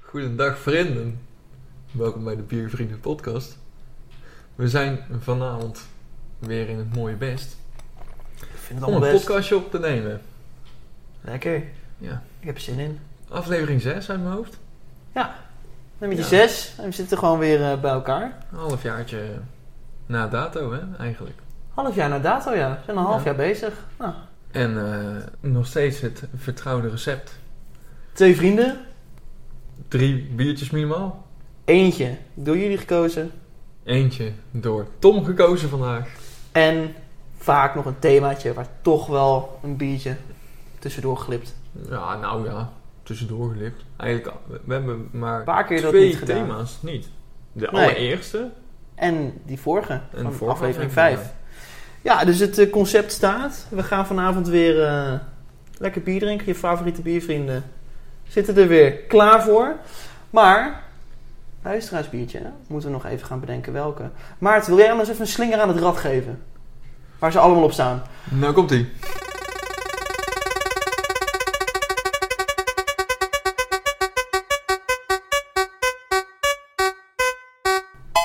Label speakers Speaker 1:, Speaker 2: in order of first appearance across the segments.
Speaker 1: Goedendag vrienden. Welkom bij de Biervrienden podcast. We zijn vanavond weer in het mooie best
Speaker 2: Ik vind het
Speaker 1: om een
Speaker 2: allemaal best.
Speaker 1: podcastje op te nemen.
Speaker 2: Lekker.
Speaker 1: Ja.
Speaker 2: Ik heb er zin in.
Speaker 1: Aflevering 6 uit mijn hoofd.
Speaker 2: Nummer
Speaker 1: Ja.
Speaker 2: 6. En we zitten gewoon weer eh, bij elkaar.
Speaker 1: Halfjaartje na dato hè, eigenlijk.
Speaker 2: Half jaar na dato, ja. We zijn een half
Speaker 1: Ja.
Speaker 2: jaar bezig. Nou,
Speaker 1: En eh, nog steeds het vertrouwde recept.
Speaker 2: twee vrienden.
Speaker 1: Drie biertjes minimaal.
Speaker 2: Eentje door jullie gekozen.
Speaker 1: Eentje door Tom gekozen vandaag.
Speaker 2: En vaak nog een themaatje waar toch wel een biertje tussendoor glipt.
Speaker 1: Ja, nou ja, tussendoor gelipt. Eigenlijk, we- we hebben maar
Speaker 2: Een paar keer dat
Speaker 1: twee
Speaker 2: niet gedaan.
Speaker 1: thema's niet. De
Speaker 2: Nee.
Speaker 1: allereerste
Speaker 2: En die vorige,
Speaker 1: en
Speaker 2: van
Speaker 1: de vorige
Speaker 2: aflevering 5. Ja, dus het eh, concept staat. We gaan vanavond weer eh, lekker bier drinken. Je favoriete biervrienden zitten er weer klaar voor. Maar, luisteraarsbiertje, hè? moeten we nog even gaan bedenken welke. Maarten, wil jij anders even een slinger aan het rad geven? Waar ze allemaal op staan.
Speaker 1: Nou komt ie.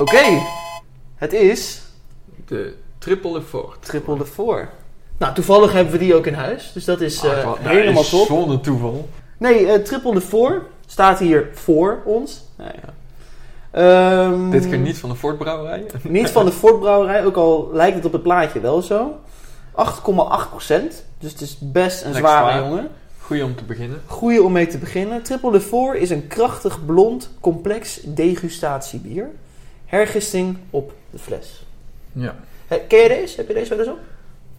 Speaker 2: Oké, het is
Speaker 1: De triple effort.
Speaker 2: Triple de Four. Nou, toevallig hebben we die ook in huis. Dus dat is eh,
Speaker 1: Ah,
Speaker 2: helemaal top.
Speaker 1: Zonder toeval.
Speaker 2: Nee, eh Triple de Four staat hier voor ons. Nou ja. Ehm,
Speaker 1: Dit keer niet van de Ford Brouwerij.
Speaker 2: Niet van de Fortbrouwerij, ook al lijkt het op het plaatje wel zo. 8,8 Dus het is best een
Speaker 1: Lekker
Speaker 2: zware
Speaker 1: zwaar.
Speaker 2: jongen.
Speaker 1: Goeie om te beginnen.
Speaker 2: Goeie om mee te beginnen. Triple de Four is een krachtig, blond, complex degustatiebier. Hergisting op de fles.
Speaker 1: Ja.
Speaker 2: Hé, ken je deze? Heb je deze wel eens op?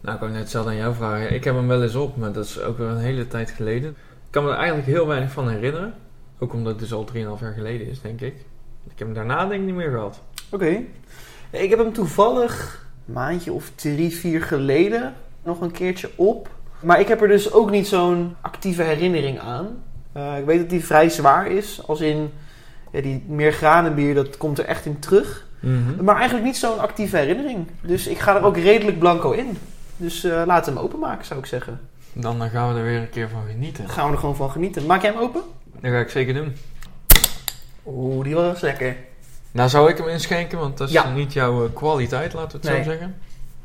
Speaker 1: Nou, ik wou net hetzelfde aan jou vragen. Ik heb hem wel eens op, maar dat is ook weer een hele tijd geleden. Ik kan me er eigenlijk heel weinig van herinneren. Ook omdat het dus al 3,5 jaar geleden is, denk ik. Ik heb hem daarna denk ik niet meer gehad.
Speaker 2: Oké. Ja, Ik heb hem toevallig een maandje of drie, vier geleden nog een keertje op. Maar ik heb er dus ook niet zo'n actieve herinnering aan. Eh, ik weet dat die vrij zwaar is. Als in ja, die meergranenbier, dat komt er echt in terug. Maar eigenlijk niet zo'n actieve herinnering. Dus ik ga er ook redelijk blanco in. Dus eh laat hem openmaken, zou ik zeggen.
Speaker 1: Dan eh, gaan we er weer een keer van genieten.
Speaker 2: Dan gaan we er gewoon van genieten. Maak jij hem open?
Speaker 1: Dat ga ik zeker doen.
Speaker 2: Oeh, die was lekker.
Speaker 1: Nou, zou ik hem inschenken, want dat is
Speaker 2: Ja.
Speaker 1: niet jouw eh, kwaliteit, laten we het
Speaker 2: Nee.
Speaker 1: zo zeggen.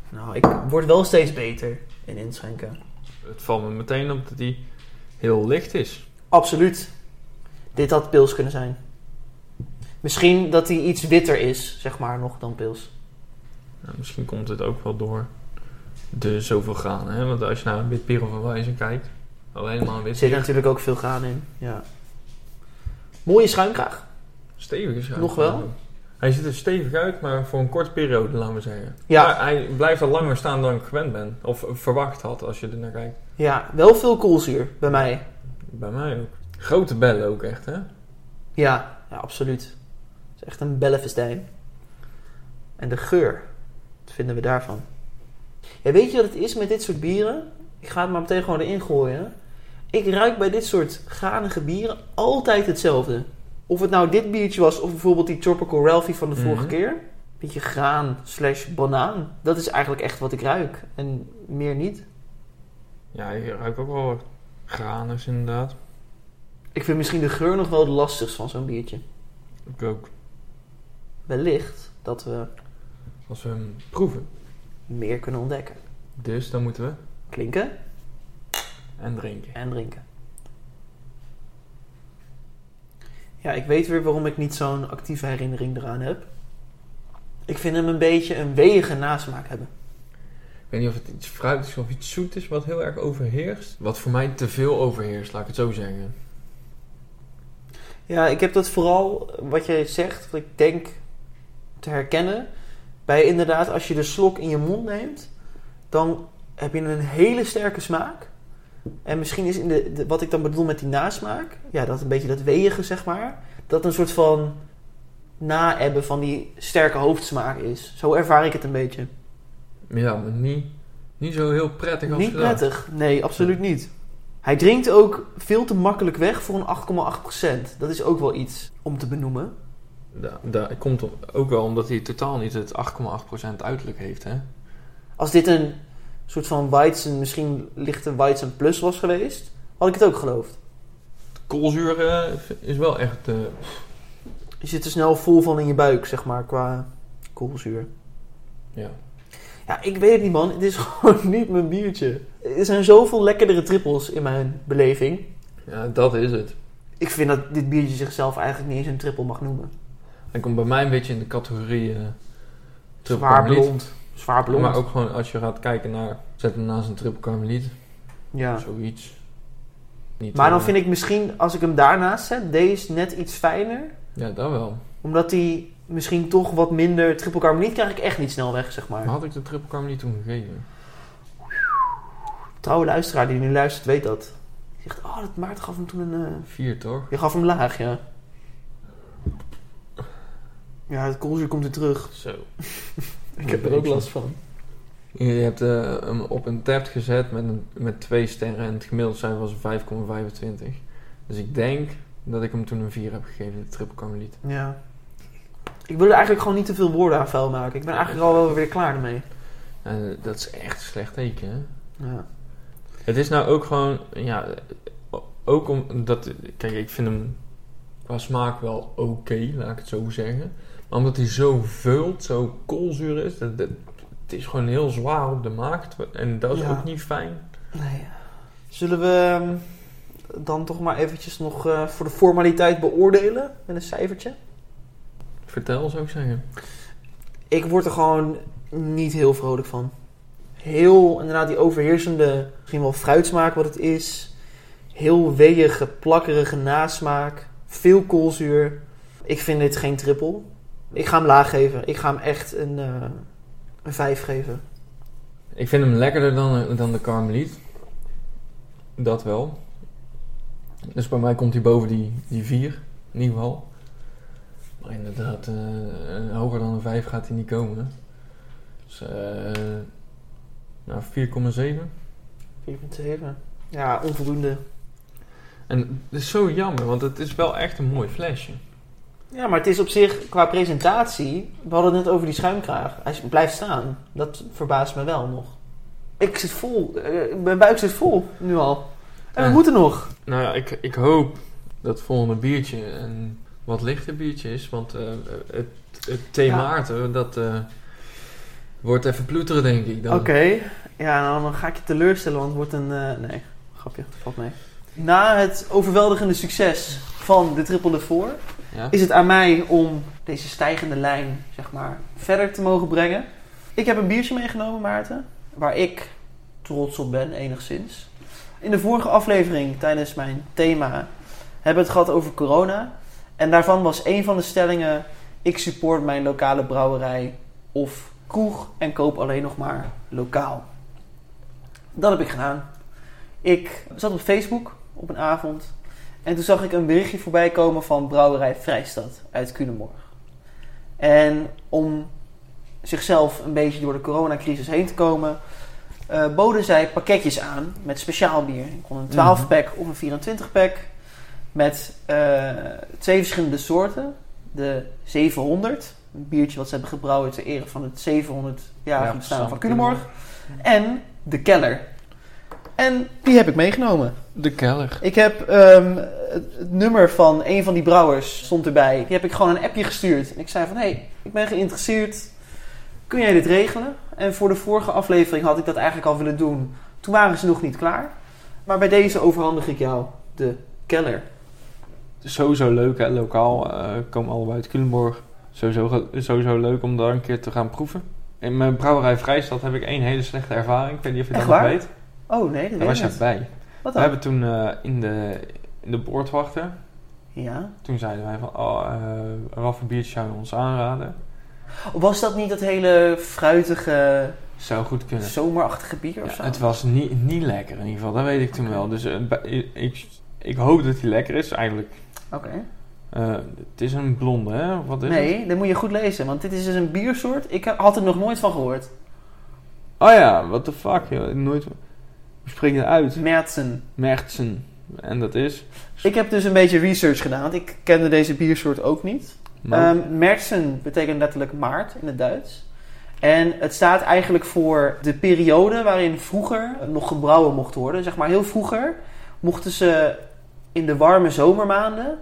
Speaker 2: Nou, ik word wel steeds beter in inschenken.
Speaker 1: Het valt me meteen op dat hij heel licht is.
Speaker 2: Absoluut. Dit had pils kunnen zijn. Misschien dat hij iets witter is, zeg maar, nog dan pils.
Speaker 1: Nou, misschien komt het ook wel door de zoveel granen. Hè? Want als je naar een wit bier of een wijzer kijkt, al helemaal
Speaker 2: Er
Speaker 1: wit
Speaker 2: zit
Speaker 1: bier,
Speaker 2: natuurlijk ook veel graan in. Ja. Mooie schuimkraag.
Speaker 1: stevig is hij.
Speaker 2: Nog wel?
Speaker 1: Hij ziet er stevig uit, maar voor een korte periode, laten we zeggen.
Speaker 2: Ja.
Speaker 1: Maar hij blijft al langer staan dan ik gewend ben. Of verwacht had, als je er naar kijkt.
Speaker 2: Ja, wel veel koolzuur bij mij.
Speaker 1: Bij mij ook. Grote bellen ook echt, hè?
Speaker 2: Ja, ja absoluut. Het is echt een bellenfestijn. En de geur. Wat vinden we daarvan? Ja, weet je wat het is met dit soort bieren? Ik ga het maar meteen gewoon erin gooien. Ik ruik bij dit soort granige bieren altijd hetzelfde. Of het nou dit biertje was of bijvoorbeeld die Tropical Ralphie van de vorige
Speaker 1: Mhm.
Speaker 2: keer. Beetje graan slash banaan. Dat is eigenlijk echt wat ik ruik. En meer niet.
Speaker 1: Ja, je ruikt ook wel wat graners inderdaad.
Speaker 2: Ik vind misschien de geur nog wel het lastigst van zo'n biertje.
Speaker 1: Ik ook.
Speaker 2: Wellicht dat we
Speaker 1: Als we hem proeven.
Speaker 2: meer kunnen ontdekken.
Speaker 1: Dus dan moeten we
Speaker 2: Klinken.
Speaker 1: en drinken.
Speaker 2: En drinken. Ja, ik weet weer waarom ik niet zo'n actieve herinnering eraan heb. Ik vind hem een beetje een weege nasmaak hebben.
Speaker 1: Ik weet niet of het iets fruit is of iets zoet is wat heel erg overheerst. Wat voor mij te veel overheerst, laat ik het zo zeggen.
Speaker 2: Ja, ik heb dat vooral, wat jij zegt, wat ik denk te herkennen. Bij inderdaad, als je de slok in je mond neemt, dan heb je een hele sterke smaak. En misschien is in de, de- wat ik dan bedoel met die nasmaak, ja, dat een beetje dat weeige, zeg maar, dat een soort van naebben van die sterke hoofdsmaak is. Zo ervaar ik het een beetje.
Speaker 1: Ja, maar niet, niet zo heel prettig als
Speaker 2: Niet
Speaker 1: gedacht.
Speaker 2: prettig. Nee, absoluut niet. Hij drinkt ook veel te makkelijk weg voor een 8,8%. Dat is ook wel iets om te benoemen.
Speaker 1: Da- da- komt om- ook wel omdat hij totaal niet het 8,8% uiterlijk heeft, hè?
Speaker 2: Als dit een soort van Weizen, misschien lichte Weizen Plus was geweest, had ik het ook geloofd.
Speaker 1: koolzuur eh, is wel echt... eh,
Speaker 2: Je zit er snel vol van in je buik, zeg maar, qua koolzuur.
Speaker 1: ja.
Speaker 2: Ja, ik weet het niet, man. Het is gewoon niet mijn biertje. Er zijn zoveel lekkerdere trippels in mijn beleving.
Speaker 1: ja, dat is het.
Speaker 2: Ik vind dat dit biertje zichzelf eigenlijk niet eens een trippel mag noemen.
Speaker 1: Hij komt bij mij een beetje in de categorie... eh triple
Speaker 2: Zwaar
Speaker 1: karmeliet.
Speaker 2: blond. Zwaar blond.
Speaker 1: Maar ook gewoon als je gaat kijken naar... Zet hem naast een triple karmeliet.
Speaker 2: ja.
Speaker 1: Zoiets. Niet,
Speaker 2: Maar dan
Speaker 1: eh,
Speaker 2: vind ik misschien, als ik hem daarnaast zet, deze net iets fijner.
Speaker 1: Ja, dat wel.
Speaker 2: Omdat die misschien toch wat minder triple carboniet krijg ik echt niet snel weg, zeg maar.
Speaker 1: Maar had ik de triple karmeliet toen gegeven?
Speaker 2: Trouwe luisteraar die nu luistert, weet dat. Die zegt, oh, dat Maarten gaf hem toen een... eh,
Speaker 1: Vier, toch?
Speaker 2: Je gaf hem laag, ja. Ja, het koolzuur komt weer terug.
Speaker 1: Zo.
Speaker 2: Ik heb er ook last van.
Speaker 1: Je hebt eh, hem op een tab gezet met, een, met twee sterren en het gemiddeld zijn was 5,25. Dus ik denk dat ik hem toen een 4 heb gegeven, de triple karmeliet.
Speaker 2: Ja. Ik wil er eigenlijk gewoon niet te veel woorden aan vuil maken. Ik ben eigenlijk al wel weer klaar ermee.
Speaker 1: En eh, dat is echt een slecht teken, hè?
Speaker 2: Ja.
Speaker 1: Het is nou ook gewoon, ja, ook omdat, kijk, ik vind hem qua smaak wel oké, laat ik het zo zeggen. Maar omdat hij zo vult, zo koolzuur is, dat, dat- het is gewoon heel zwaar op de maag. terwijl- En dat is
Speaker 2: Ja.
Speaker 1: ook niet fijn.
Speaker 2: Nee. Zullen we ehm, dan toch maar eventjes nog eh, voor de formaliteit beoordelen met een cijfertje?
Speaker 1: Vertel, zou ik zeggen.
Speaker 2: Ik word er gewoon niet heel vrolijk van. Heel, inderdaad, die overheersende, misschien wel fruitsmaak wat het is. Heel weeige, plakkerige nasmaak. Veel koolzuur. Ik vind dit geen trippel. Ik ga hem laag geven. Ik ga hem echt een, eh, een 5 geven.
Speaker 1: Ik vind hem lekkerder dan, eh, dan de karmeliet. Dat wel. Dus bij mij komt hij boven die, die 4, in ieder geval. Maar inderdaad, eh, eh, hoger dan een 5 gaat hij niet komen. Dus eh nou, 4,7.
Speaker 2: 4,7. Ja, onvoldoende.
Speaker 1: En dat is zo jammer, want het is wel echt een mooi flesje.
Speaker 2: Ja, maar het is op zich qua presentatie. We hadden het net over die schuimkraag. Hij s- blijft staan. Dat verbaast me wel nog. Ik zit vol. Eh, mijn buik zit vol nu al. En we
Speaker 1: Ja.
Speaker 2: moeten nog.
Speaker 1: Nou ja, ik, ik hoop dat het volgende biertje een wat lichter biertje is. Want eh, het, het thema
Speaker 2: Ja.
Speaker 1: aarde, dat eh, wordt even ploeteren, denk ik. Dan.
Speaker 2: Oké. Ja, nou, dan ga ik je teleurstellen, want het wordt een. eh, nee, grapje, valt mee. Na het overweldigende succes van de Triple de Four
Speaker 1: Ja?
Speaker 2: is het aan mij om deze stijgende lijn zeg maar, verder te mogen brengen. Ik heb een biertje meegenomen, Maarten, waar ik trots op ben, enigszins. In de vorige aflevering tijdens mijn thema hebben we het gehad over corona. En daarvan was een van de stellingen: ik support mijn lokale brouwerij of kroeg en koop alleen nog maar lokaal. Dat heb ik gedaan. Ik zat op Facebook op een avond en toen zag ik een berichtje voorbij komen van Brouwerij Vrijstad uit Culemborg. En om zichzelf een beetje door de coronacrisis heen te komen, eh, boden zij pakketjes aan met speciaal bier. Ik kon een 12-pack of een 24-pack met eh, twee verschillende soorten. De 700, een biertje wat ze hebben gebrouwen ter ere van het 700-jarige
Speaker 1: Ja,
Speaker 2: bestaan
Speaker 1: bestaan
Speaker 2: van
Speaker 1: van
Speaker 2: Culemborg. En de Keller. En die heb ik meegenomen.
Speaker 1: De keller.
Speaker 2: Ik heb ehm, het, het nummer van een van die brouwers stond erbij. Die heb ik gewoon een appje gestuurd. En ik zei van, hé, hey, ik ben geïnteresseerd. Kun jij dit regelen? En voor de vorige aflevering had ik dat eigenlijk al willen doen. Toen waren ze nog niet klaar. Maar bij deze overhandig ik jou de keller.
Speaker 1: Sowieso leuk, hè? lokaal. eh, komen allebei uit Culemborg. Sowieso, ge- sowieso leuk om daar een keer te gaan proeven. In mijn brouwerij Vrijstad heb ik één hele slechte ervaring. Ik weet niet of je dat
Speaker 2: Echt
Speaker 1: nog
Speaker 2: waar?
Speaker 1: weet.
Speaker 2: Oh nee, dat
Speaker 1: Daar
Speaker 2: weet
Speaker 1: was
Speaker 2: ik
Speaker 1: je
Speaker 2: niet.
Speaker 1: bij.
Speaker 2: Wat
Speaker 1: We
Speaker 2: dan?
Speaker 1: hebben toen eh, in de, in de boordwachter...
Speaker 2: Ja.
Speaker 1: Toen zeiden wij van... Oh, eh wat voor biertje zou je ons aanraden?
Speaker 2: Was dat niet dat hele fruitige,
Speaker 1: Zou goed kunnen.
Speaker 2: zomerachtige bier of
Speaker 1: Ja,
Speaker 2: zo?
Speaker 1: het was niet, niet lekker in ieder geval. Dat weet ik toen
Speaker 2: Oké.
Speaker 1: wel. Dus eh, bij- ik, ik hoop dat hij lekker is eigenlijk.
Speaker 2: Oké.
Speaker 1: eh, het is een blonde, hè? Wat is het?
Speaker 2: Nee, dat moet je goed lezen. Want dit is dus een biersoort. Ik had er nog nooit van gehoord.
Speaker 1: Oh ja, what the fuck, joh. Nooit... Hoe spreek je dat uit?
Speaker 2: Mertsen.
Speaker 1: Mertsen. En dat is.
Speaker 2: Ik heb dus een beetje research gedaan, want ik kende deze biersoort ook niet.
Speaker 1: Maar
Speaker 2: Ehm, Mersen betekent letterlijk maart in het Duits. En het staat eigenlijk voor de periode waarin vroeger nog gebrouwen mocht worden. Zeg maar heel vroeger mochten ze in de warme zomermaanden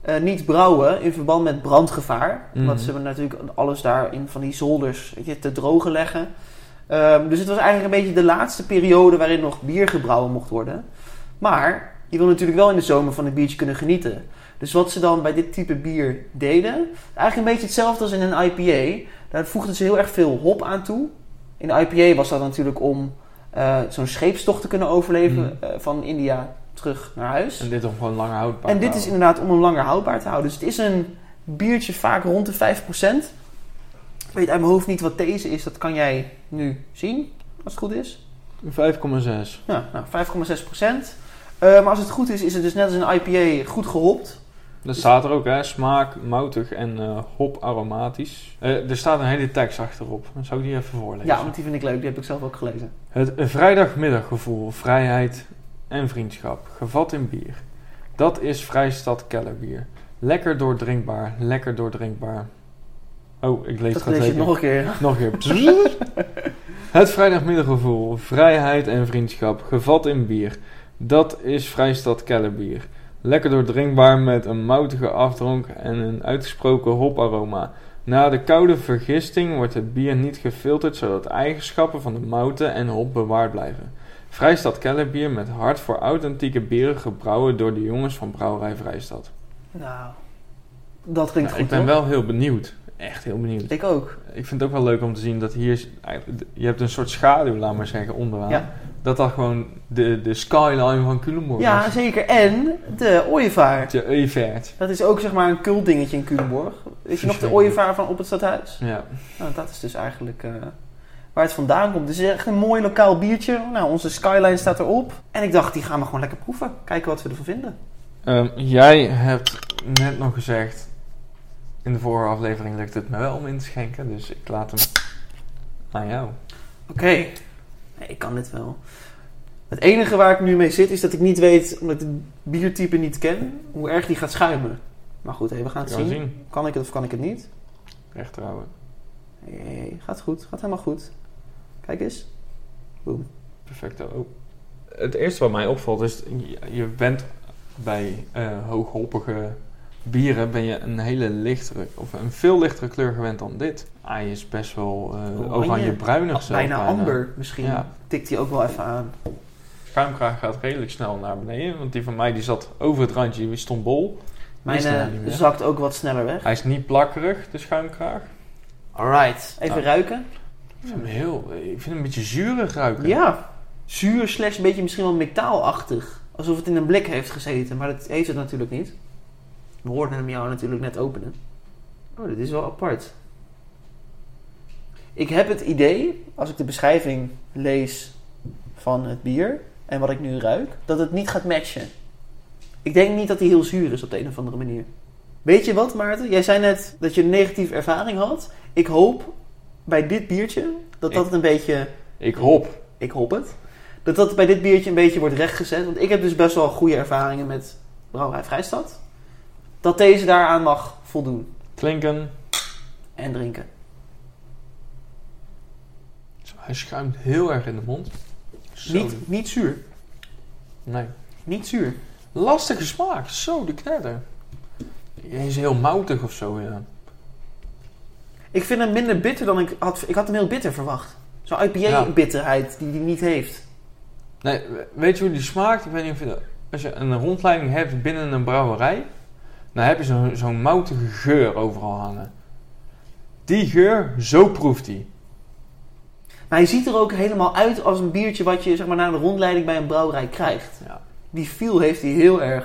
Speaker 2: eh, niet brouwen in verband met brandgevaar.
Speaker 1: Mhm.
Speaker 2: Omdat ze natuurlijk alles daar in van die zolders weet je, te drogen leggen. Ehm, dus het was eigenlijk een beetje de laatste periode waarin nog bier gebrouwen mocht worden. Maar je wil natuurlijk wel in de zomer van een biertje kunnen genieten. Dus wat ze dan bij dit type bier deden, eigenlijk een beetje hetzelfde als in een IPA. Daar voegden ze heel erg veel hop aan toe. In de IPA was dat natuurlijk om eh, zo'n scheepstocht te kunnen overleven
Speaker 1: Mm.
Speaker 2: eh, van India terug naar huis.
Speaker 1: En dit om gewoon langer houdbaar
Speaker 2: En
Speaker 1: te
Speaker 2: dit is
Speaker 1: houden.
Speaker 2: inderdaad om hem langer houdbaar te houden. Dus het is een biertje vaak rond de 5%. Ik weet uit mijn hoofd niet wat deze is. Dat kan jij nu zien, als het goed is.
Speaker 1: 5,6.
Speaker 2: Ja, nou, 5,6%. Eh, maar als het goed is, is het dus net als een IPA goed gehopt.
Speaker 1: Dat staat er ook, hè? Smaak, moutig en eh hop aromatisch. Eh, er staat een hele tekst achterop. Dan zou ik die even voorlezen.
Speaker 2: Ja, want die vind ik leuk. Die heb ik zelf ook gelezen.
Speaker 1: Het vrijdagmiddaggevoel, vrijheid en vriendschap, gevat in bier. Dat is Vrijstad Kellerbier. Lekker doordrinkbaar, lekker doordrinkbaar. Oh, ik lees
Speaker 2: Dat
Speaker 1: het
Speaker 2: lees je nog een keer.
Speaker 1: nog een keer. het vrijdagmiddaggevoel, vrijheid en vriendschap, gevat in bier. Dat is Vrijstad Kellerbier. Lekker doordrinkbaar met een moutige afdronk en een uitgesproken hoparoma. Na de koude vergisting wordt het bier niet gefilterd zodat eigenschappen van de mouten en hop bewaard blijven. Vrijstad Kellerbier met hart voor authentieke bieren gebrouwen door de jongens van Brouwerij Vrijstad.
Speaker 2: Nou, dat klinkt
Speaker 1: Nou,
Speaker 2: goed,
Speaker 1: ik ben
Speaker 2: hoor.
Speaker 1: wel heel benieuwd. Echt heel benieuwd.
Speaker 2: Ik ook.
Speaker 1: Ik vind het ook wel leuk om te zien dat hier... is- eigenlijk- Je hebt een soort schaduw, laat maar zeggen, onderaan.
Speaker 2: Ja.
Speaker 1: Dat dat gewoon de, de skyline van Culemborg
Speaker 2: Ja,
Speaker 1: is.
Speaker 2: zeker. En de ooievaar.
Speaker 1: De Euvert.
Speaker 2: Dat is ook zeg maar een cult dingetje in Culemborg. Weet je nog de
Speaker 1: Verschrikkelijk.
Speaker 2: ooievaar van op het stadhuis?
Speaker 1: Ja.
Speaker 2: Nou, dat is dus eigenlijk eh, waar het vandaan komt. Dus het is echt een mooi lokaal biertje. Nou, onze skyline staat erop. En ik dacht, die gaan we gewoon lekker proeven. Kijken wat we ervan vinden.
Speaker 1: Ehm, jij hebt net nog gezegd... In de vorige aflevering lukt het me wel om in te schenken. Dus ik laat hem aan jou.
Speaker 2: Oké. Nee, ik kan dit wel. Het enige waar ik nu mee zit, is dat ik niet weet, omdat ik het biertype niet ken, hoe erg die gaat schuimen. Maar goed, hé, we gaan
Speaker 1: Gaan
Speaker 2: het zien.
Speaker 1: zien.
Speaker 2: Kan ik het of kan ik het niet?
Speaker 1: Recht houden.
Speaker 2: Hé, hé, hé, gaat goed. Gaat helemaal goed. Kijk eens. Boom.
Speaker 1: Perfecto. Oh. Het eerste wat mij opvalt is... Je, je bent bij eh, hooghoppige bieren... ben je een hele lichtere... of een veel lichtere kleur gewend dan dit. Hij is best wel
Speaker 2: Oranje.
Speaker 1: eh oranje-bruinig zelfs.
Speaker 2: Ah, bijna amber misschien.
Speaker 1: Ja.
Speaker 2: Tikt die ook wel even aan.
Speaker 1: schuimkraag gaat redelijk snel naar beneden. Want die van mij die zat over het randje, die stond bol.
Speaker 2: Mijn
Speaker 1: Is er nou
Speaker 2: eh,
Speaker 1: niet meer?
Speaker 2: zakt ook wat sneller weg.
Speaker 1: Hij is niet plakkerig, de schuimkraag.
Speaker 2: Alright. Even
Speaker 1: Nou.
Speaker 2: ruiken.
Speaker 1: Ik vind hem heel... Ik vind hem een beetje zuurig ruiken.
Speaker 2: Ja, zuur slechts een beetje misschien wel metaalachtig. Alsof het in een blik heeft gezeten, maar dat heeft het natuurlijk niet. We hoorden hem jou natuurlijk net openen. Oh, dit is wel apart. Ik heb het idee, als ik de beschrijving lees van het bier en wat ik nu ruik, dat het niet gaat matchen. Ik denk niet dat hij heel zuur is op de een of andere manier. Weet je wat, Maarten? Jij zei net dat je een negatieve ervaring had. Ik hoop bij dit biertje dat dat
Speaker 1: Ik-
Speaker 2: een beetje
Speaker 1: Ik hop.
Speaker 2: ik hoop het. Dat dat bij dit biertje een beetje wordt rechtgezet. Want ik heb dus best wel goede ervaringen met Brouwerij Vrijstad. Dat deze daaraan mag voldoen
Speaker 1: Klinken.
Speaker 2: en drinken.
Speaker 1: Hij schuimt heel erg in de mond. Zo.
Speaker 2: Niet, niet zuur.
Speaker 1: Nee.
Speaker 2: Niet zuur.
Speaker 1: Lastige smaak. Zo, de knetter. Hij is heel moutig of zo, ja.
Speaker 2: Ik vind hem minder bitter dan ik had. Ik had hem heel bitter verwacht. Zo'n
Speaker 1: Ja.
Speaker 2: IPA-bitterheid die hij niet heeft.
Speaker 1: Nee, weet je hoe die smaakt? Ik weet niet of je dat... Als je een rondleiding hebt binnen een brouwerij... dan heb je zo'n zo'n moutige geur overal hangen. Die geur, zo proeft hij.
Speaker 2: Maar hij ziet er ook helemaal uit als een biertje wat je zeg maar, na een rondleiding bij een brouwerij krijgt.
Speaker 1: Ja.
Speaker 2: Die feel heeft hij heel erg.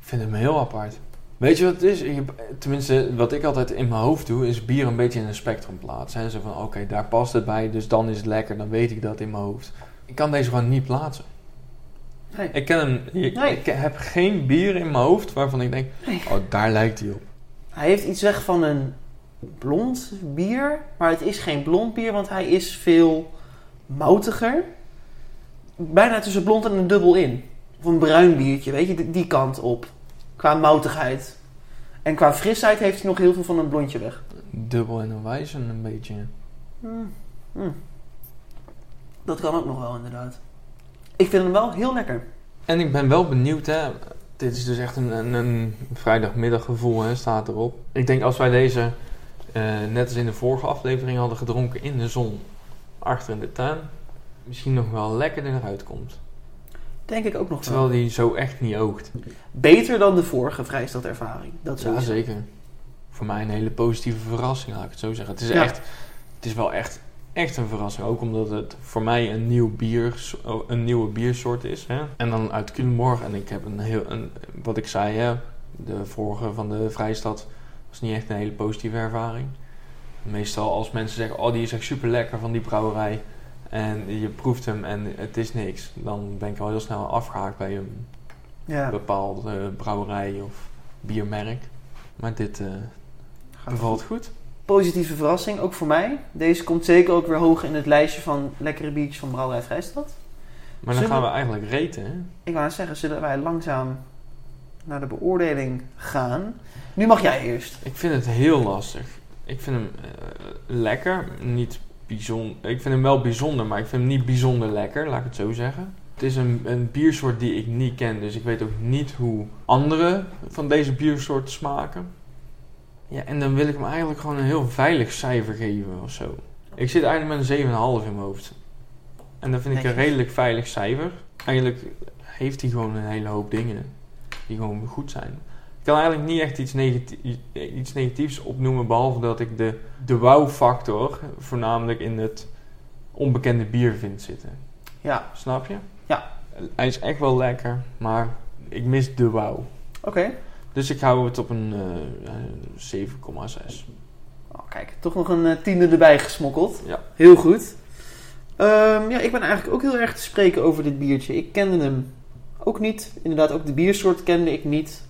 Speaker 1: Ik vind hem heel apart. Weet je wat het is? Je- tenminste, wat ik altijd in mijn hoofd doe... is bier een beetje in een spectrum plaatsen. Hè? Zo van, oké, daar past het bij, dus dan is het lekker. Dan weet ik dat in mijn hoofd. Ik kan deze gewoon niet plaatsen.
Speaker 2: Nee.
Speaker 1: Ik ken hem... Ik,
Speaker 2: Nee.
Speaker 1: ik heb geen bier in mijn hoofd waarvan ik denk...
Speaker 2: Nee.
Speaker 1: oh, daar lijkt hij op.
Speaker 2: Hij heeft iets weg van een blond bier, maar het is geen blond bier, want hij is veel moutiger. Bijna tussen blond en een dubbel in. Of een bruin biertje, weet je, die- die kant op. Qua moutigheid. En qua frisheid heeft hij nog heel veel van een blondje weg. Hmm.
Speaker 1: Dubbel en een wijzen een beetje...
Speaker 2: Dat kan ook nog wel, inderdaad. Ik vind hem wel heel lekker.
Speaker 1: En ik ben wel benieuwd, hè, Dit is dus echt een, een, een vrijdagmiddaggevoel, hè, staat erop. Ik denk als wij deze, eh, net als in de vorige aflevering, hadden gedronken in de zon, achter in de tuin, misschien nog wel lekkerder eruit komt.
Speaker 2: Denk ik ook nog
Speaker 1: Terwijl
Speaker 2: wel.
Speaker 1: die zo echt niet oogt.
Speaker 2: Beter dan de vorige vrijstadervaring. Dat
Speaker 1: Ja,
Speaker 2: sowieso.
Speaker 1: zeker. Voor mij een hele positieve verrassing, laat ik het zo zeggen. Het is,
Speaker 2: Ja.
Speaker 1: echt, het is wel echt, echt een verrassing. Ook omdat het voor mij een, nieuw bier, oh, een nieuwe biersoort is. Hè? En dan uit Culemborg. En ik heb een heel... Een, wat ik zei, hè, de vorige van de Vrijstad was niet echt een hele positieve ervaring. Meestal als mensen zeggen, oh die is echt super lekker van die brouwerij. En je proeft hem en het is niks. Dan ben ik al heel snel afgehaakt bij een
Speaker 2: Ja,
Speaker 1: bepaalde eh, brouwerij of biermerk. Maar dit eh, bevalt goed.
Speaker 2: positieve verrassing, ook voor mij. Deze komt zeker ook weer hoog in het lijstje van lekkere biertjes van Brouwerij Vrijstad.
Speaker 1: Maar dan
Speaker 2: Zullen
Speaker 1: gaan
Speaker 2: we-
Speaker 1: we eigenlijk reten, hè?
Speaker 2: Ik wou net zeggen, zullen wij langzaam naar de beoordeling gaan? Nu mag jij eerst.
Speaker 1: Ik vind het heel lastig. Ik vind hem eh, lekker, niet bijzonder. Ik vind hem wel bijzonder, maar ik vind hem niet bijzonder lekker, laat ik het zo zeggen. Het is een, een biersoort die ik niet ken, dus ik weet ook niet hoe andere van deze biersoorten smaken. Ja, en dan wil ik hem eigenlijk gewoon een heel veilig cijfer geven of zo. Ik zit eigenlijk met een 7,5 in mijn hoofd. En dat vind ik een
Speaker 2: Netjes.
Speaker 1: redelijk veilig cijfer. Eigenlijk heeft hij gewoon een hele hoop dingen die gewoon goed zijn. Ik kan eigenlijk niet echt iets, negati- iets negatiefs opnoemen, behalve dat ik de, de wow-factor voornamelijk in het onbekende bier vind zitten.
Speaker 2: Ja,
Speaker 1: Snap je?
Speaker 2: Ja.
Speaker 1: Hij is echt wel lekker, maar ik mis de wow.
Speaker 2: oké.
Speaker 1: Dus ik hou het op een eh, eh, 7,6.
Speaker 2: Oh, kijk, toch nog een eh, tiende erbij gesmokkeld.
Speaker 1: Ja.
Speaker 2: Heel goed. Ehm, ja, ik ben eigenlijk ook heel erg te spreken over dit biertje. Ik kende hem ook niet. Inderdaad, ook de biersoort kende ik niet.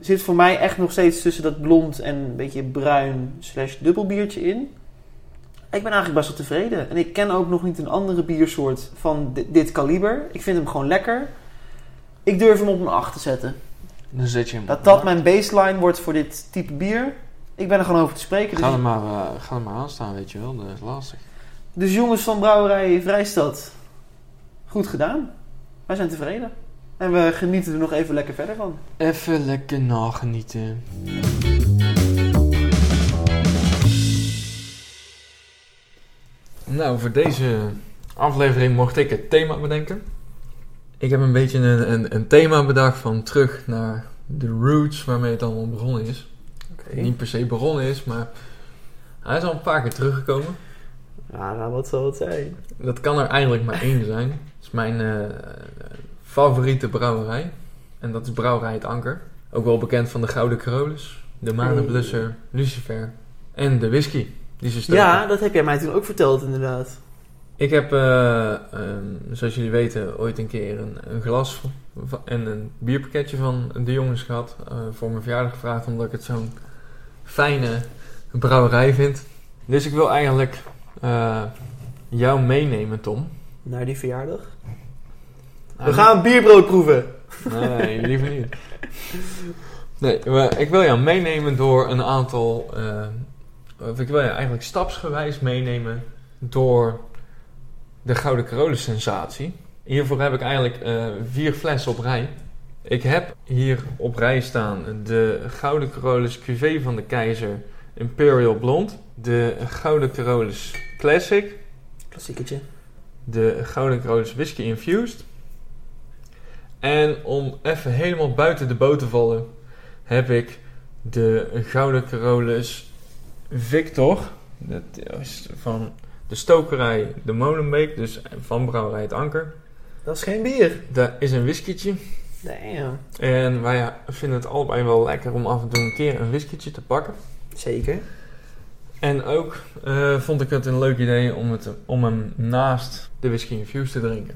Speaker 2: Zit voor mij echt nog steeds tussen dat blond en een beetje bruin slash dubbel biertje in. Ik ben eigenlijk best wel tevreden. En ik ken ook nog niet een andere biersoort van di- dit kaliber. Ik vind hem gewoon lekker. Ik durf hem op een 8 te zetten.
Speaker 1: Dan zet je hem
Speaker 2: Dat
Speaker 1: op.
Speaker 2: dat mijn baseline wordt voor dit type bier. Ik ben er gewoon over te spreken. dus
Speaker 1: Ga er, maar, eh, ga er maar aan staan, weet je wel. Dat is lastig.
Speaker 2: Dus jongens van Brouwerij Vrijstad, goed gedaan. Wij zijn tevreden. En we genieten er nog even lekker verder van.
Speaker 1: Even lekker nagenieten. Nou, voor deze aflevering mocht ik het thema bedenken. Ik heb een beetje een, een, een thema bedacht van terug naar de roots waarmee het allemaal begonnen is. Niet per se begonnen is, maar hij is al een paar keer teruggekomen.
Speaker 2: Ja, nou, wat zal het zijn?
Speaker 1: Dat kan er eigenlijk maar één zijn. Dat is mijn eh, favoriete brouwerij. En dat is Brouwerij Het Anker. Ook wel bekend van de Gouden Carolus, de Manenblusser, Lucifer en de whisky. Die ze stoken.
Speaker 2: Ja, dat heb jij mij toen ook verteld, inderdaad.
Speaker 1: Ik heb, eh, ehm, zoals jullie weten, ooit een keer een, een glas van- van- en een bierpakketje van de jongens gehad. eh, voor mijn verjaardag gevraagd, omdat ik het zo'n fijne brouwerij vind. Dus ik wil eigenlijk eh, jou meenemen, Tom.
Speaker 2: Naar die verjaardag. We gaan een bierbrood proeven.
Speaker 1: Nee, liever niet. Nee, we- ik wil jou meenemen door een aantal. eh, of ik wil je eigenlijk stapsgewijs meenemen door de Gouden Carolus sensatie. Hiervoor heb ik eigenlijk eh, vier flessen op rij. Ik heb hier op rij staan de Gouden Carolus Cuvée van de Keizer Imperial Blond. De Gouden Carolus Classic.
Speaker 2: Klassieketje.
Speaker 1: De Gouden Carolus Whisky Infused. En om even helemaal buiten de boot te vallen, heb ik de Gouden Carolus Victor. Dat is van de stokerij De Molenbeek, dus van brouwerij Het Anker.
Speaker 2: Dat is geen bier.
Speaker 1: Daar is een whiskytje.
Speaker 2: Damn.
Speaker 1: En wij vinden het allebei wel lekker om af en toe een keer een whiskytje te pakken.
Speaker 2: Zeker.
Speaker 1: En ook eh, vond ik het een leuk idee om, het, om hem naast de whisky infused te drinken.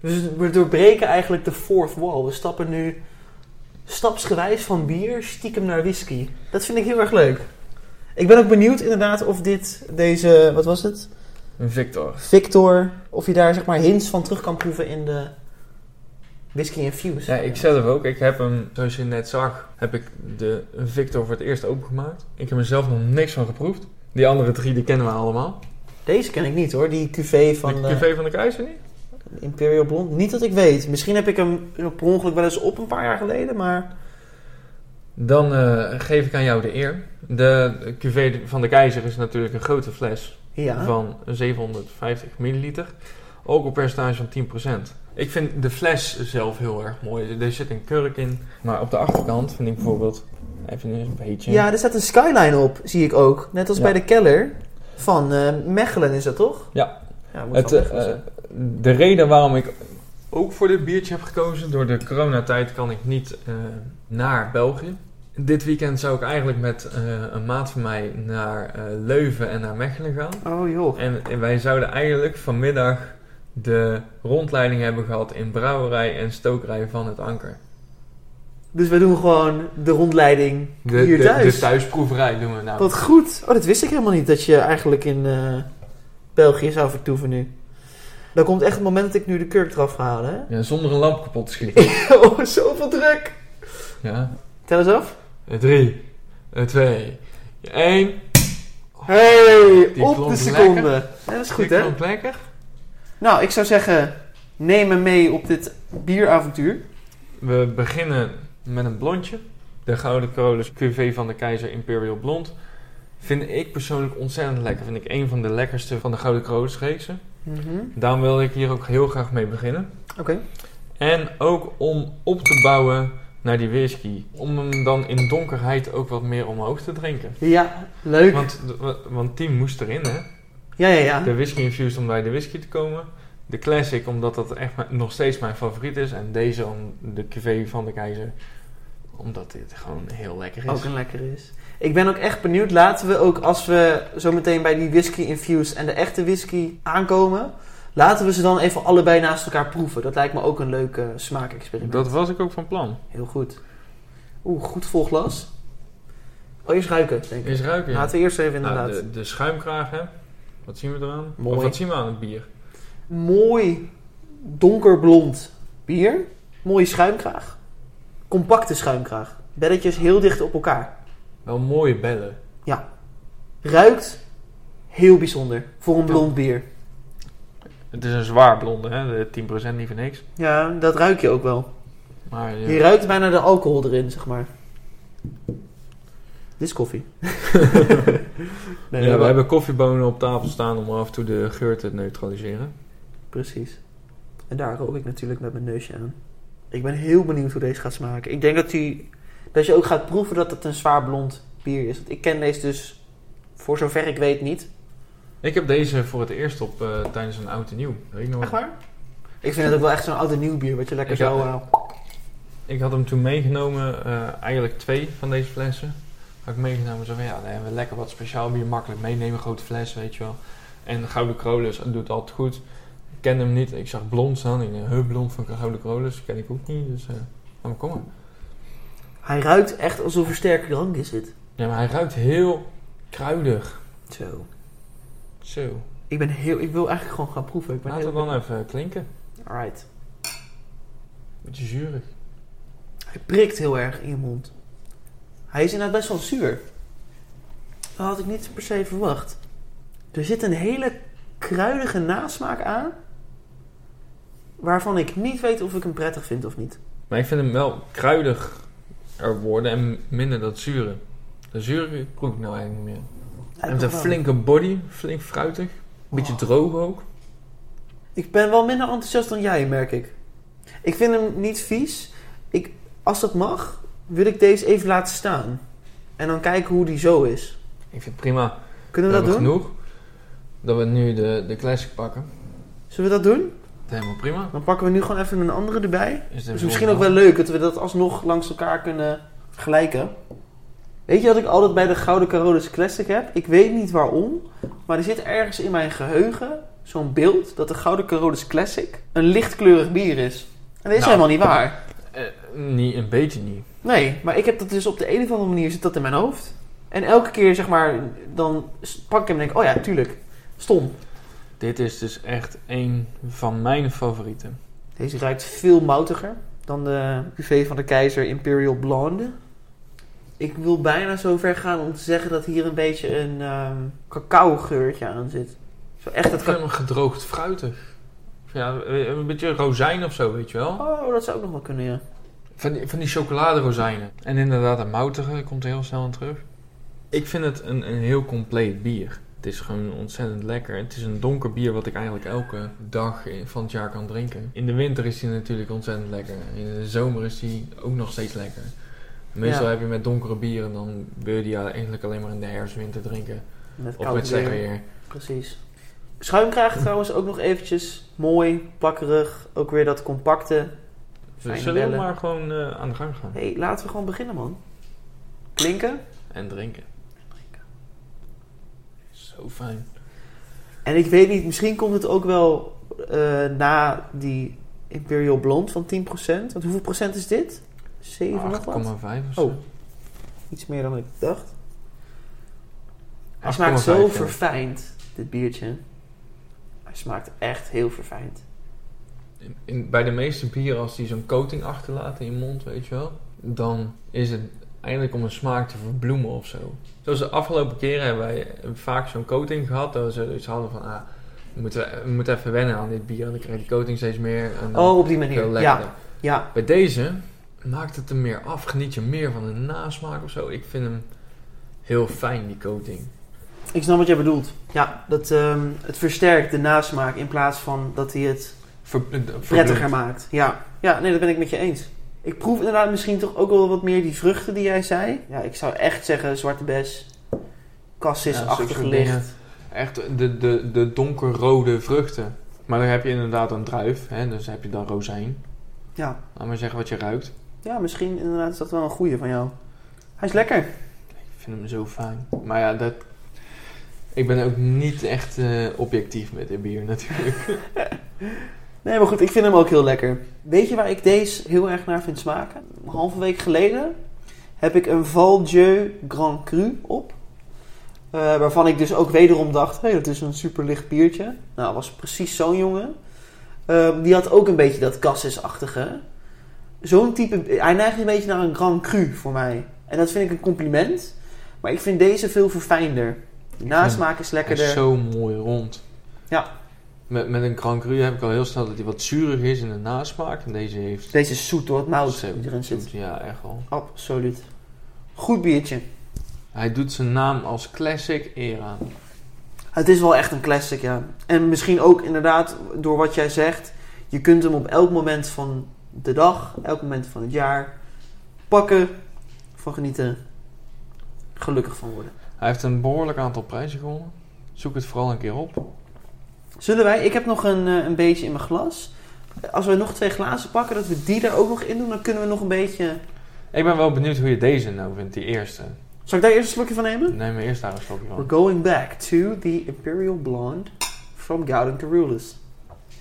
Speaker 2: Dus we doorbreken eigenlijk de fourth wall. We stappen nu stapsgewijs van bier stiekem naar whisky. Dat vind ik heel erg leuk. Ik ben ook benieuwd inderdaad of dit, deze, wat was het?
Speaker 1: Een Victor.
Speaker 2: Victor, of je daar zeg maar hints van terug kan proeven in de whisky infused.
Speaker 1: Ja, ik zelf ook. Ik heb hem, zoals je net zag, heb ik de Victor voor het eerst opengemaakt. Ik heb er zelf nog niks van geproefd. Die andere drie, die kennen we allemaal.
Speaker 2: Deze ken ik niet hoor, die cuvée van...
Speaker 1: de
Speaker 2: eh,
Speaker 1: cuvée van de keizer niet?
Speaker 2: Imperial Blond? Niet dat ik weet. Misschien heb ik hem per ongeluk wel eens op een paar jaar geleden, maar...
Speaker 1: Dan eh, geef ik aan jou de eer. De cuvée van de keizer is natuurlijk een grote fles
Speaker 2: Ja.
Speaker 1: van 750 milliliter. Alcoholpercentage van 10%. Ik vind de fles zelf heel erg mooi. Er zit een kurk in. Maar op de achterkant vind ik bijvoorbeeld even een beetje...
Speaker 2: ja, er staat een skyline op, zie ik ook. Net als
Speaker 1: Ja.
Speaker 2: bij de Keller van eh, Mechelen is dat toch?
Speaker 1: Ja.
Speaker 2: ja moet
Speaker 1: Het,
Speaker 2: wel
Speaker 1: eh,
Speaker 2: Mechelen zijn.
Speaker 1: de reden waarom ik ook voor dit biertje heb gekozen, door de coronatijd kan ik niet eh, naar België. Dit weekend zou ik eigenlijk met eh, een maat van mij naar eh, Leuven en naar Mechelen gaan.
Speaker 2: Oh joh.
Speaker 1: En wij zouden eigenlijk vanmiddag de rondleiding hebben gehad in brouwerij en stokerij van het Anker.
Speaker 2: Dus we doen gewoon de rondleiding
Speaker 1: De,
Speaker 2: hier
Speaker 1: de,
Speaker 2: thuis.
Speaker 1: de thuisproeverij doen we nou.
Speaker 2: Wat goed. Oh, dat wist ik helemaal niet dat je eigenlijk in eh, België zou vertoeven nu. Dan komt echt het moment dat ik nu de kurk eraf ga halen. hè?
Speaker 1: Ja, zonder een lamp kapot te schieten.
Speaker 2: oh, zoveel druk.
Speaker 1: ja.
Speaker 2: Tel eens af.
Speaker 1: Eh, Drie, eh, twee, één.
Speaker 2: Hey,
Speaker 1: Die
Speaker 2: op
Speaker 1: klonk
Speaker 2: de seconde.
Speaker 1: lekker.
Speaker 2: Ja, dat is goed, hè?
Speaker 1: Komt lekker.
Speaker 2: Nou, ik zou zeggen, neem me mee op dit bieravontuur.
Speaker 1: We beginnen met een blondje. De Gouden Carolus QV van de Keizer Imperial Blond. Vind ik persoonlijk ontzettend lekker. Vind ik een van de lekkerste van de Gouden Carolus reeksen.
Speaker 2: Mhm.
Speaker 1: Daarom wil ik hier ook heel graag mee beginnen.
Speaker 2: Oké.
Speaker 1: En ook om op te bouwen naar die whisky. Om hem dan in donkerheid ook wat meer omhoog te drinken.
Speaker 2: Ja, leuk.
Speaker 1: Want, de- want die moest erin, hè?
Speaker 2: Ja, ja, ja.
Speaker 1: De whisky infused om bij de whisky te komen. De classic omdat dat echt mijn- nog steeds mijn favoriet is. En deze om de cuvée van de keizer. Omdat dit gewoon heel lekker is.
Speaker 2: Ook een lekker is. Ik ben ook echt benieuwd. Laten we ook als we zo meteen bij die whisky infused en de echte whisky aankomen. Laten we ze dan even allebei naast elkaar proeven. Dat lijkt me ook een leuk eh, smaakexperiment.
Speaker 1: Dat was ik ook van plan.
Speaker 2: Heel goed. Oeh, goed vol glas. Oh, eerst ruiken, denk ik.
Speaker 1: Eens ruiken.
Speaker 2: Laten we eerst even
Speaker 1: Nou,
Speaker 2: inderdaad.
Speaker 1: de, de schuimkraag hè. Wat zien we eraan?
Speaker 2: Mooi.
Speaker 1: Of wat zien we aan het bier?
Speaker 2: Mooi donkerblond bier. Mooie schuimkraag. Compacte schuimkraag. Belletjes heel dicht op elkaar.
Speaker 1: Wel mooie bellen.
Speaker 2: Ruikt heel bijzonder voor een blond bier.
Speaker 1: Het is een zwaar blonde hè. De 10% niet voor niks.
Speaker 2: Ja, dat ruik je ook wel.
Speaker 1: Maar ja.
Speaker 2: Je ruikt bijna de alcohol erin, zeg maar. Dit is koffie. nee,
Speaker 1: Ja,
Speaker 2: dat-
Speaker 1: we hebben koffiebonen op tafel staan om af en toe de geur te neutraliseren.
Speaker 2: Precies. En daar rook ik natuurlijk met mijn neusje aan. Ik ben heel benieuwd hoe deze gaat smaken. Ik denk dat, die, dat je ook gaat proeven dat het een zwaar blond bier is. Want ik ken deze dus, voor zover ik weet, niet.
Speaker 1: Ik heb deze voor het eerst op eh, tijdens een oud en nieuw. Weet ik nog wel.
Speaker 2: waar? Ik vind het ook wel echt zo'n oud en nieuw bier, wat je lekker
Speaker 1: Ik
Speaker 2: zo...
Speaker 1: heb-
Speaker 2: eh,
Speaker 1: Ik had hem toen meegenomen, eh, eigenlijk twee van deze flessen. Had ik meegenomen, zo van ja, dan hebben we lekker wat speciaal bier, makkelijk meenemen, grote fles, weet je wel. En Gouden Krolus doet altijd goed. Ik kende hem niet, ik zag blond staan, ik dacht, huh, blond van Gouden Krolus, ken ik ook niet, dus eh laat me komen.
Speaker 2: hij ruikt echt alsof er sterke drank in zit.
Speaker 1: Ja, maar hij ruikt heel kruidig.
Speaker 2: Zo.
Speaker 1: Zo,
Speaker 2: Ik ben heel... Ik wil eigenlijk gewoon gaan proeven. Ik ben
Speaker 1: laten we
Speaker 2: heel...
Speaker 1: dan even klinken.
Speaker 2: Alright.
Speaker 1: Beetje zuurig.
Speaker 2: Hij prikt heel erg in je mond. Hij is inderdaad best wel zuur. Dat had ik niet per se verwacht. Er zit een hele kruidige nasmaak aan. Waarvan ik niet weet of ik hem prettig vind of niet.
Speaker 1: Maar ik vind hem wel kruidig er worden en minder dat zure. De zure proef ik nou eigenlijk niet meer. Hij heeft een flinke body, flink fruitig. Beetje
Speaker 2: Oh.
Speaker 1: droog ook.
Speaker 2: Ik ben wel minder enthousiast dan jij, merk ik. Ik vind hem niet vies. Ik, als dat mag, wil ik deze even laten staan. En dan kijken hoe die zo is.
Speaker 1: Ik vind het prima.
Speaker 2: Kunnen
Speaker 1: We
Speaker 2: we,
Speaker 1: hebben
Speaker 2: dat doen?
Speaker 1: genoeg. Dat we nu de, de classic pakken.
Speaker 2: Zullen we dat doen?
Speaker 1: Dat is helemaal prima.
Speaker 2: Dan pakken we nu gewoon even een andere erbij.
Speaker 1: Is
Speaker 2: Dat is Dus misschien ook wel leuk dat we dat alsnog langs elkaar kunnen vergelijken. Weet je wat ik altijd bij de Gouden Carolus Classic heb? Ik weet niet waarom, maar er zit ergens in mijn geheugen zo'n beeld dat de Gouden Carolus Classic een lichtkleurig bier is. En dat is
Speaker 1: Nou.
Speaker 2: helemaal niet waar.
Speaker 1: Eh, niet, een beetje niet.
Speaker 2: Nee, maar ik heb dat dus op de een of andere manier zit dat in mijn hoofd. En elke keer zeg maar, dan s- pak ik hem en denk oh ja, tuurlijk. Stom.
Speaker 1: Dit is dus echt een van mijn favorieten.
Speaker 2: Deze ruikt veel moutiger dan de cuvée van de keizer Imperial Blonde. Ik wil bijna zo ver gaan om te zeggen dat hier een beetje een ehm cacao geurtje aan zit. Zo echt
Speaker 1: Ik
Speaker 2: dat
Speaker 1: vind hem gedroogd fruitig. Ik vind Ja, een beetje rozijn of zo, weet je wel.
Speaker 2: Oh, dat zou ook nog wel kunnen, ja.
Speaker 1: Van die, van die chocoladerozijnen. En inderdaad, dat moutige komt er heel snel aan terug. Ik vind het een, een heel compleet bier. Het is gewoon ontzettend lekker. Het is een donker bier wat ik eigenlijk elke dag in- van het jaar kan drinken. In de winter is hij natuurlijk ontzettend lekker. In de zomer is hij ook nog steeds lekker. Meestal
Speaker 2: Ja.
Speaker 1: heb je met donkere bieren, dan wil je die eigenlijk alleen maar in de herfstwinter drinken.
Speaker 2: Met
Speaker 1: Of met
Speaker 2: koud
Speaker 1: slecht
Speaker 2: weer.
Speaker 1: weer.
Speaker 2: Precies. Schuimkraag trouwens ook nog eventjes. Mooi, plakkerig. Ook weer dat compacte. Fijne
Speaker 1: Dus zullen we
Speaker 2: bellen.
Speaker 1: maar gewoon eh, aan de gang gaan.
Speaker 2: hey, laten we gewoon beginnen, man. Klinken.
Speaker 1: En drinken. Zo fijn.
Speaker 2: En ik weet niet, misschien komt het ook wel eh, na die Imperial Blond van 10%. Want hoeveel procent is dit? 7 nog wat?
Speaker 1: 8,5 of zo.
Speaker 2: Oh. Iets meer dan ik dacht. Hij smaakt zo
Speaker 1: 8,5, ja.
Speaker 2: verfijnd, dit biertje. Hij smaakt echt heel verfijnd.
Speaker 1: In- in- bij de meeste bieren, als die zo'n coating achterlaten in je mond, weet je wel, dan is het eigenlijk om een smaak te verbloemen of zo. Zoals de afgelopen keren hebben wij vaak zo'n coating gehad, dat we zoiets hadden van, ah, we moeten, we moeten even wennen aan dit bier, en dan krijg je die coating steeds meer. En dan
Speaker 2: Oh, op die
Speaker 1: wordt het
Speaker 2: manier.
Speaker 1: heel
Speaker 2: Ja,
Speaker 1: lekkerder.
Speaker 2: ja.
Speaker 1: Bij deze maakt het er meer af, geniet je meer van de nasmaak of zo. Ik vind hem heel fijn, die coating.
Speaker 2: Ik snap wat jij bedoelt. Ja, dat, ehm, het versterkt de nasmaak in plaats van dat hij het
Speaker 1: Ver- eh,
Speaker 2: prettiger
Speaker 1: verbloemt.
Speaker 2: maakt. Ja. ja, nee, dat ben ik met je eens. Ik proef inderdaad misschien toch ook wel wat meer die vruchten die jij zei. Ja, ik zou echt zeggen zwarte bes,
Speaker 1: Ja,
Speaker 2: cassis-achtig
Speaker 1: zulke
Speaker 2: licht.
Speaker 1: dingen. Echt de, de, de donkerrode vruchten. Maar dan heb je inderdaad een druif, hè? dus heb je dan rozijn.
Speaker 2: Ja.
Speaker 1: Laat maar zeggen wat je ruikt.
Speaker 2: ja, misschien inderdaad is dat wel een goede van jou. Hij is lekker.
Speaker 1: Ik vind hem zo fijn. Maar ja, dat... ik ben ook niet echt eh, objectief met dit bier natuurlijk.
Speaker 2: Nee, maar goed, ik vind hem ook heel lekker. Weet je waar ik deze heel erg naar vind smaken? Een halve week geleden heb ik een Val Dieu Grand Cru op. Eh, waarvan ik dus ook wederom dacht, hé, dat is een superlicht biertje. Nou, was precies zo'n jongen. Ehm, die had ook een beetje dat cassis-achtige. Zo'n type, hij neigt een beetje naar een Grand Cru voor mij. En dat vind ik een compliment. Maar ik vind deze veel verfijnder. De nasmaak is
Speaker 1: Hij is
Speaker 2: lekkerder.
Speaker 1: zo mooi rond.
Speaker 2: Ja.
Speaker 1: Met, met een Grand Cru heb ik al heel snel dat hij wat zuurig is in de nasmaak. En deze heeft...
Speaker 2: Deze is zoet door het mout
Speaker 1: Zo-
Speaker 2: die erin zit.
Speaker 1: zoet, Ja, echt wel.
Speaker 2: Absoluut. Goed biertje.
Speaker 1: Hij doet zijn naam als classic era.
Speaker 2: Het is wel echt een classic, ja. En misschien ook inderdaad door wat jij zegt. Je kunt hem op elk moment van de dag, elk moment van het jaar pakken, van genieten, gelukkig van worden.
Speaker 1: Hij heeft een behoorlijk aantal prijzen gewonnen. Zoek het vooral een keer op.
Speaker 2: Zullen wij, ik heb nog een, eh, een beetje in mijn glas. Als we nog twee glazen pakken, dat we die er ook nog in doen, dan kunnen we nog een beetje...
Speaker 1: Ik ben wel benieuwd hoe je deze nou vindt, die eerste.
Speaker 2: Zal ik daar eerst een slokje van nemen?
Speaker 1: Neem maar eerst daar een slokje van.
Speaker 2: We're going back to the Imperial Blonde from Gowden to Rulers.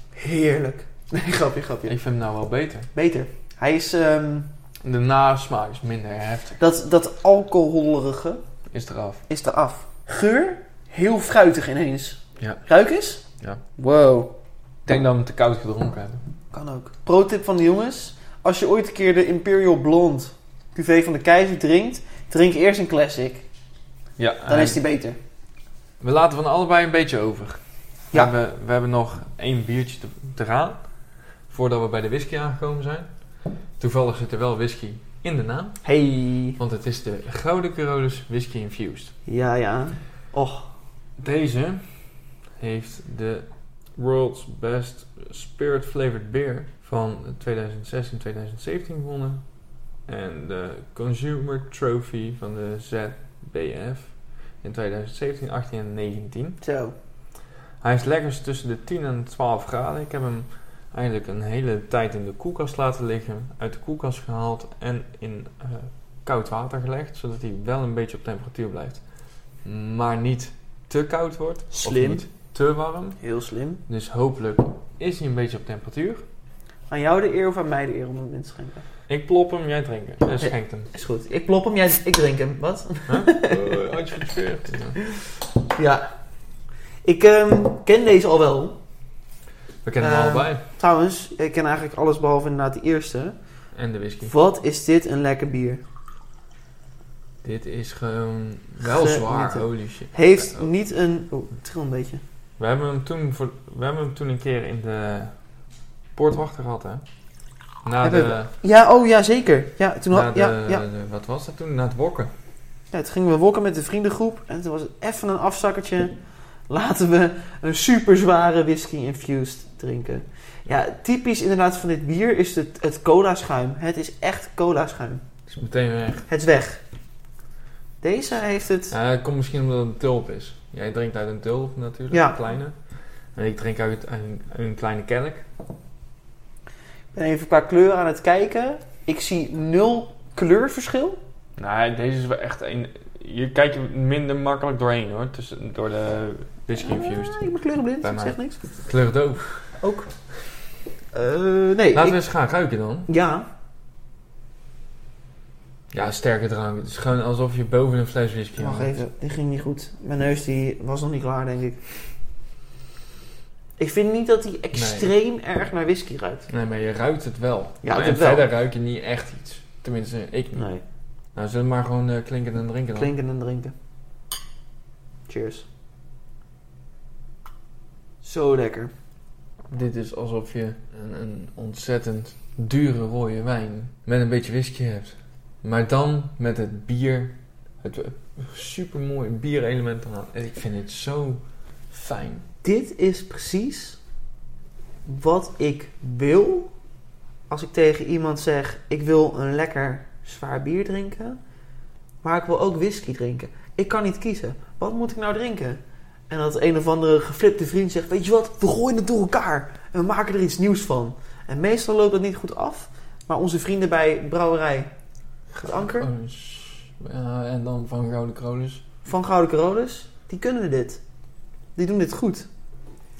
Speaker 2: Heerlijk. Nee, grapje,
Speaker 1: Ik
Speaker 2: grapje.
Speaker 1: vind hem nou wel beter.
Speaker 2: Beter. Hij is ehm,
Speaker 1: De nasmaak is minder heftig.
Speaker 2: dat, dat alcoholerige
Speaker 1: Is eraf.
Speaker 2: is eraf. Geur, heel fruitig ineens.
Speaker 1: Ja.
Speaker 2: Ruik eens?
Speaker 1: Ja.
Speaker 2: Wow.
Speaker 1: Ik denk dat we hem te koud gedronken hebben.
Speaker 2: Kan ook. Pro-tip van de jongens. Als je ooit een keer de Imperial Blonde cuvée van de keizer drinkt, drink eerst een classic.
Speaker 1: Ja,
Speaker 2: Dan
Speaker 1: eh,
Speaker 2: is die beter.
Speaker 1: we laten van allebei een beetje over. We,
Speaker 2: Ja.
Speaker 1: hebben, we hebben nog één biertje te, te gaan. Voordat we bij de whisky aangekomen zijn. Toevallig zit er wel whisky in de naam.
Speaker 2: Hey.
Speaker 1: Want het is de Gouden Carolus Whisky Infused.
Speaker 2: Ja, ja. Och.
Speaker 1: Deze heeft de World's Best Spirit Flavored Beer van 2006 en 2017 gewonnen. En de Consumer Trophy van de ZBF in 2017, 18 en 19.
Speaker 2: Zo.
Speaker 1: Hij is lekker tussen de 10 en 12 graden. Ik heb hem eigenlijk een hele tijd in de koelkast laten liggen, uit de koelkast gehaald en in eh, koud water gelegd, zodat hij wel een beetje op temperatuur blijft, maar niet te koud wordt
Speaker 2: Slim.
Speaker 1: of niet te warm.
Speaker 2: Heel slim.
Speaker 1: Dus hopelijk is hij een beetje op temperatuur.
Speaker 2: Aan jou de eer of aan mij de eer om hem in te schenken?
Speaker 1: Ik plop hem, jij drinken. Eh, schenkt hem.
Speaker 2: Is goed. Ik plop hem, jij, ik drink hem. Wat?
Speaker 1: Oh, had je verkeerd.
Speaker 2: Ja. Ik ehm, ken deze al wel.
Speaker 1: We kennen hem
Speaker 2: Ehm.
Speaker 1: allebei.
Speaker 2: Trouwens, ik ken eigenlijk alles behalve inderdaad de eerste.
Speaker 1: En de whisky.
Speaker 2: Wat is dit een lekker bier?
Speaker 1: Dit is gewoon wel zwaar,
Speaker 2: Genieten.
Speaker 1: holy shit.
Speaker 2: Heeft
Speaker 1: Oh.
Speaker 2: niet een... Oh, het tril een beetje.
Speaker 1: We hebben, hem toen voor, we hebben hem toen een keer in de poortwachter gehad, hè? Na
Speaker 2: Hebben
Speaker 1: de,
Speaker 2: Ja, oh ja, zeker. Ja, toen
Speaker 1: na
Speaker 2: had,
Speaker 1: de,
Speaker 2: ja, ja.
Speaker 1: de- Wat was dat toen? Na het wokken.
Speaker 2: Ja, toen gingen we wokken met de vriendengroep en toen was het even een afzakkertje. Laten we een super zware whisky infused drinken. Ja, typisch inderdaad van dit bier is het, het cola schuim. Het is echt cola schuim.
Speaker 1: Is meteen weg.
Speaker 2: Het is weg. Deze heeft het.
Speaker 1: Ja, dat komt misschien omdat het een tulp is. Jij drinkt uit een tulp natuurlijk,
Speaker 2: Ja.
Speaker 1: een kleine. En ik drink uit, uit een, uit een kleine kelk.
Speaker 2: Ik ben even qua kleur aan het kijken. Ik zie nul kleurverschil.
Speaker 3: Nou, deze is wel echt een... Je kijkt er minder makkelijk doorheen hoor, tussen, door de whisky infused.
Speaker 2: Ah, ik ben kleurenblind,
Speaker 1: Bij
Speaker 2: dat
Speaker 1: mij.
Speaker 2: zegt niks.
Speaker 1: Kleurdoof.
Speaker 2: Ook. Eh, nee.
Speaker 1: Laten we
Speaker 2: ik-
Speaker 1: eens gaan ruiken dan.
Speaker 2: Ja,
Speaker 1: Ja, sterke drank. Het is gewoon alsof je boven een fles whisky
Speaker 2: wacht
Speaker 1: hangt.
Speaker 2: even. Dit ging niet goed. Mijn neus die was nog niet klaar, denk ik. Ik vind niet dat hij extreem erg naar whisky ruikt.
Speaker 1: Nee, maar je ruikt het wel.
Speaker 2: Ja,
Speaker 1: en
Speaker 2: dit wel.
Speaker 1: verder ruik je niet echt iets. Tenminste, ik niet.
Speaker 2: Nee.
Speaker 1: Nou, zullen we maar gewoon eh, klinken en drinken dan.
Speaker 2: Klinken en drinken. Cheers. Zo lekker.
Speaker 1: Dit is alsof je een, een ontzettend dure rode wijn met een beetje whisky hebt. Maar dan met het bier, het supermooie bierelement eraan. En Ik vind het zo fijn.
Speaker 2: Dit is precies wat ik wil als ik tegen iemand zeg: ik wil een lekker zwaar bier drinken, maar ik wil ook whisky drinken. Ik kan niet kiezen. Wat moet ik nou drinken? En dat een of andere geflipte vriend zegt: weet je wat? We gooien het door elkaar en we maken er iets nieuws van. En meestal loopt dat niet goed af, maar onze vrienden bij brouwerij Het Anker
Speaker 1: Oh, s- ja, en dan van Gouden Krolus.
Speaker 2: van Gouden Carolus, die kunnen dit. Die doen dit goed.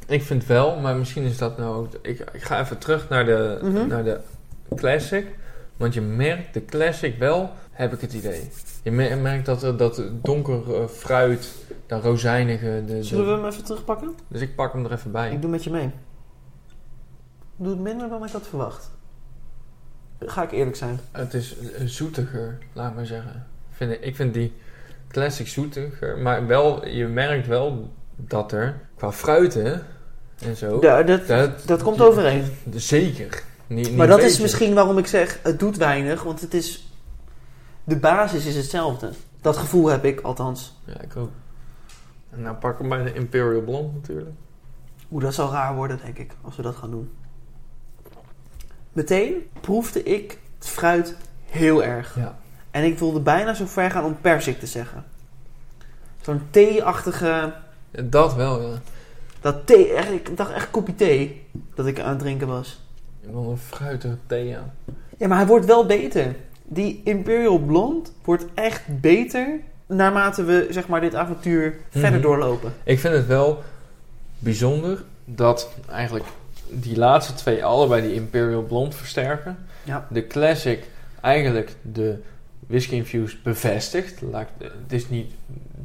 Speaker 1: Ik vind wel, maar misschien is dat nou ook... Ik, ik ga even terug naar de,
Speaker 2: Mhm.
Speaker 1: naar de classic. Want je merkt de classic wel, heb ik het idee. Je mer- merkt dat, er- dat donker eh, fruit, dat rozijnige... De, de-
Speaker 2: Zullen we hem even terugpakken?
Speaker 1: Dus ik pak hem er even bij.
Speaker 2: Ik doe met je mee. Ik Doe het minder dan ik had verwacht. Ga ik eerlijk zijn.
Speaker 1: Het is eh, zoetiger, laat maar zeggen. Vind ik, ik vind die classic zoetiger, maar wel, je merkt wel dat er qua fruiten en zo.
Speaker 2: Ja, dat,
Speaker 1: Oh, dat,
Speaker 2: dat komt overeen.
Speaker 1: Zeker. Niet, niet
Speaker 2: Maar dat is
Speaker 1: beetje.
Speaker 2: misschien waarom ik zeg, het doet weinig. Want het is... De basis is hetzelfde. Dat gevoel heb ik althans.
Speaker 1: Ja, ik ook. En nou pak hem bij de Imperial Blonde natuurlijk.
Speaker 2: Oeh, dat zal raar worden, denk ik, als we dat gaan doen. Meteen proefde ik het fruit heel erg.
Speaker 1: Ja.
Speaker 2: En ik wilde bijna zo ver gaan om persik te zeggen. Zo'n thee-achtige...
Speaker 1: Dat wel, ja.
Speaker 2: Dat thee, echt, ik dacht echt kopje thee dat ik aan het drinken was.
Speaker 1: Wel een fruitige thee aan.
Speaker 2: Ja, maar hij wordt wel beter. Die Imperial Blond wordt echt beter naarmate we zeg maar, dit avontuur verder
Speaker 1: Mhm.
Speaker 2: doorlopen.
Speaker 1: Ik vind het wel bijzonder dat eigenlijk die laatste twee allebei die Imperial Blond versterken.
Speaker 2: Ja.
Speaker 1: De Classic eigenlijk de Whisky Infused bevestigt. Laat ik- Het is niet,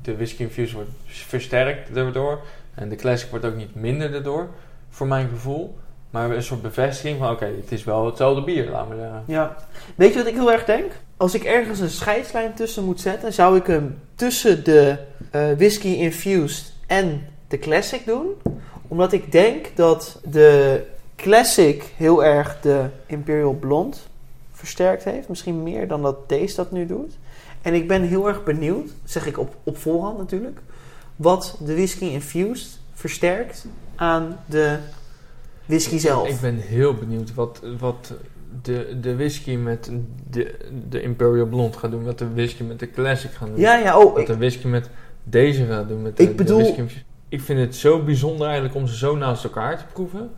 Speaker 1: de Whisky Infused wordt versterkt daardoor. En de Classic wordt ook niet minder daardoor, voor mijn gevoel. Maar een soort bevestiging van, oké, het is wel hetzelfde bier, laten we zeggen.
Speaker 2: ja. Weet je wat ik heel erg denk? Als ik ergens een scheidslijn tussen moet zetten, zou ik hem tussen de eh, whisky infused en de classic doen. Omdat ik denk dat de classic heel erg de Imperial Blond versterkt heeft. Misschien meer dan dat deze dat nu doet. En ik ben heel erg benieuwd, zeg ik op, op voorhand natuurlijk, wat de whisky infused versterkt aan de whisky zelf.
Speaker 1: Ik ben heel benieuwd wat, wat de, de whisky met de, de Imperial Blond gaat doen. Wat de whisky met de Classic gaat doen.
Speaker 2: Ja, ja, oh,
Speaker 1: Wat
Speaker 2: ik,
Speaker 1: de whisky met deze gaat doen. Met de,
Speaker 2: Ik
Speaker 1: de
Speaker 2: bedoel-
Speaker 1: whisky infused. ik vind het zo bijzonder eigenlijk om ze zo naast elkaar te proeven.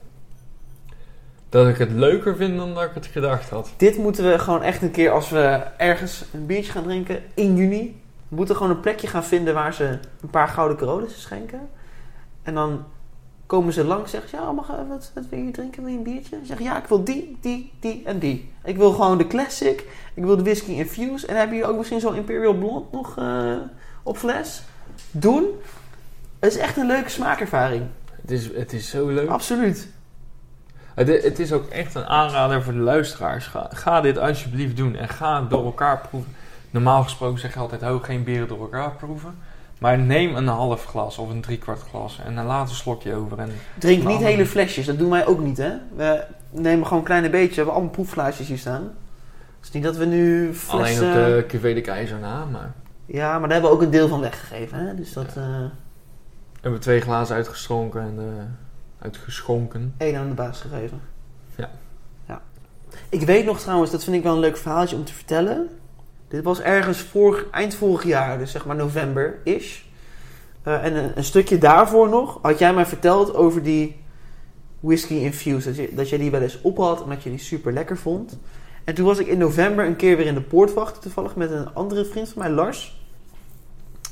Speaker 1: Dat ik het leuker vind dan dat ik het gedacht had.
Speaker 2: Dit moeten we gewoon echt een keer als we ergens een biertje gaan drinken in juni. We moeten gewoon een plekje gaan vinden waar ze een paar gouden Carolussen schenken. En dan komen ze langs en zeggen ze, ja, mag ik wat, wat wil je drinken? Wil je een biertje? Ze zeggen, ja, ik wil die, die, die en die. Ik wil gewoon de classic. Ik wil de whisky infused. En hebben jullie ook misschien zo'n Imperial Blond nog eh, op fles? Doen. Het is echt een leuke smaakervaring.
Speaker 1: Het is, het is zo leuk.
Speaker 2: Absoluut.
Speaker 1: Het, het is ook echt een aanrader voor de luisteraars. Ga, ga dit alsjeblieft doen en ga het door elkaar proeven. Normaal gesproken zeg je altijd ook geen bieren door elkaar proeven. Maar neem een half glas of een driekwart glas en dan laat een slokje over. En
Speaker 2: Drink niet
Speaker 1: Nou,
Speaker 2: hele flesjes. Dat doen wij ook niet, hè? We nemen gewoon een kleine beetje. We hebben allemaal proefflaasjes hier staan. Het is niet dat we nu
Speaker 1: Alleen
Speaker 2: flessen...
Speaker 1: op de QV de Keizer na, maar...
Speaker 2: Ja, maar daar hebben we ook een deel van weggegeven. Hè? Dus dat... eh
Speaker 1: We hebben twee glazen uitgeschonken en eh, uitgeschonken.
Speaker 2: één aan de baas gegeven.
Speaker 1: Ja.
Speaker 2: ja. Ik weet nog trouwens, dat vind ik wel een leuk verhaaltje om te vertellen. Dit was ergens vorig, eind vorig jaar, dus zeg maar november-ish. Eh, en een, een stukje daarvoor nog had jij mij verteld over die whisky infused. Dat, je, dat jij die wel eens op had en dat je die super lekker vond. En toen was ik in november een keer weer in de poortwacht, toevallig met een andere vriend van mij, Lars.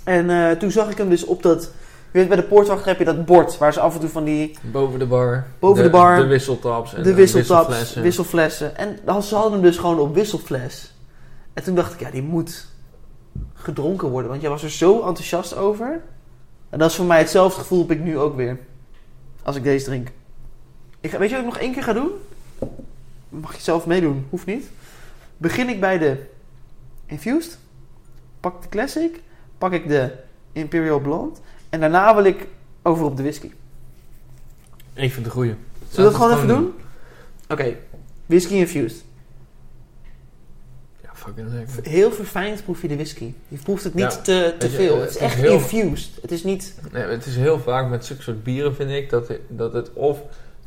Speaker 2: En eh, toen zag ik hem dus op dat. Je weet, bij de poortwacht heb je dat bord waar ze af en toe van die
Speaker 1: Boven de bar.
Speaker 2: Boven de bar.
Speaker 1: De wisseltaps. En eh,
Speaker 2: de wisseltaps,
Speaker 1: wisselflessen.
Speaker 2: wisselflessen. En dan- ze hadden hem dus gewoon op wisselfles. En toen dacht ik, ja, die moet gedronken worden. Want jij was er zo enthousiast over. En dat is voor mij hetzelfde gevoel heb ik nu ook weer. Als ik deze drink. Ik ga, weet je wat ik nog één keer ga doen? Mag je zelf meedoen, hoeft niet. Begin ik bij de Infused. Pak de Classic. Pak ik de Imperial Blonde. En daarna wil ik over op de whisky.
Speaker 1: Ik vind het een goeie.
Speaker 2: Zullen we dat
Speaker 1: Laten we
Speaker 2: gewoon even
Speaker 1: het
Speaker 2: doen? Oké, whisky infused.
Speaker 1: Ja, fucking lekker.
Speaker 2: Heel verfijnd proef je de whisky. Je proeft het niet
Speaker 1: Ja,
Speaker 2: te, te
Speaker 1: weet je,
Speaker 2: veel.
Speaker 1: eh,
Speaker 2: het is
Speaker 1: het is
Speaker 2: echt
Speaker 1: heel-
Speaker 2: infused. Het is niet...
Speaker 1: Nee, maar het is heel vaak met zulke soort bieren, vind ik, dat het, dat het of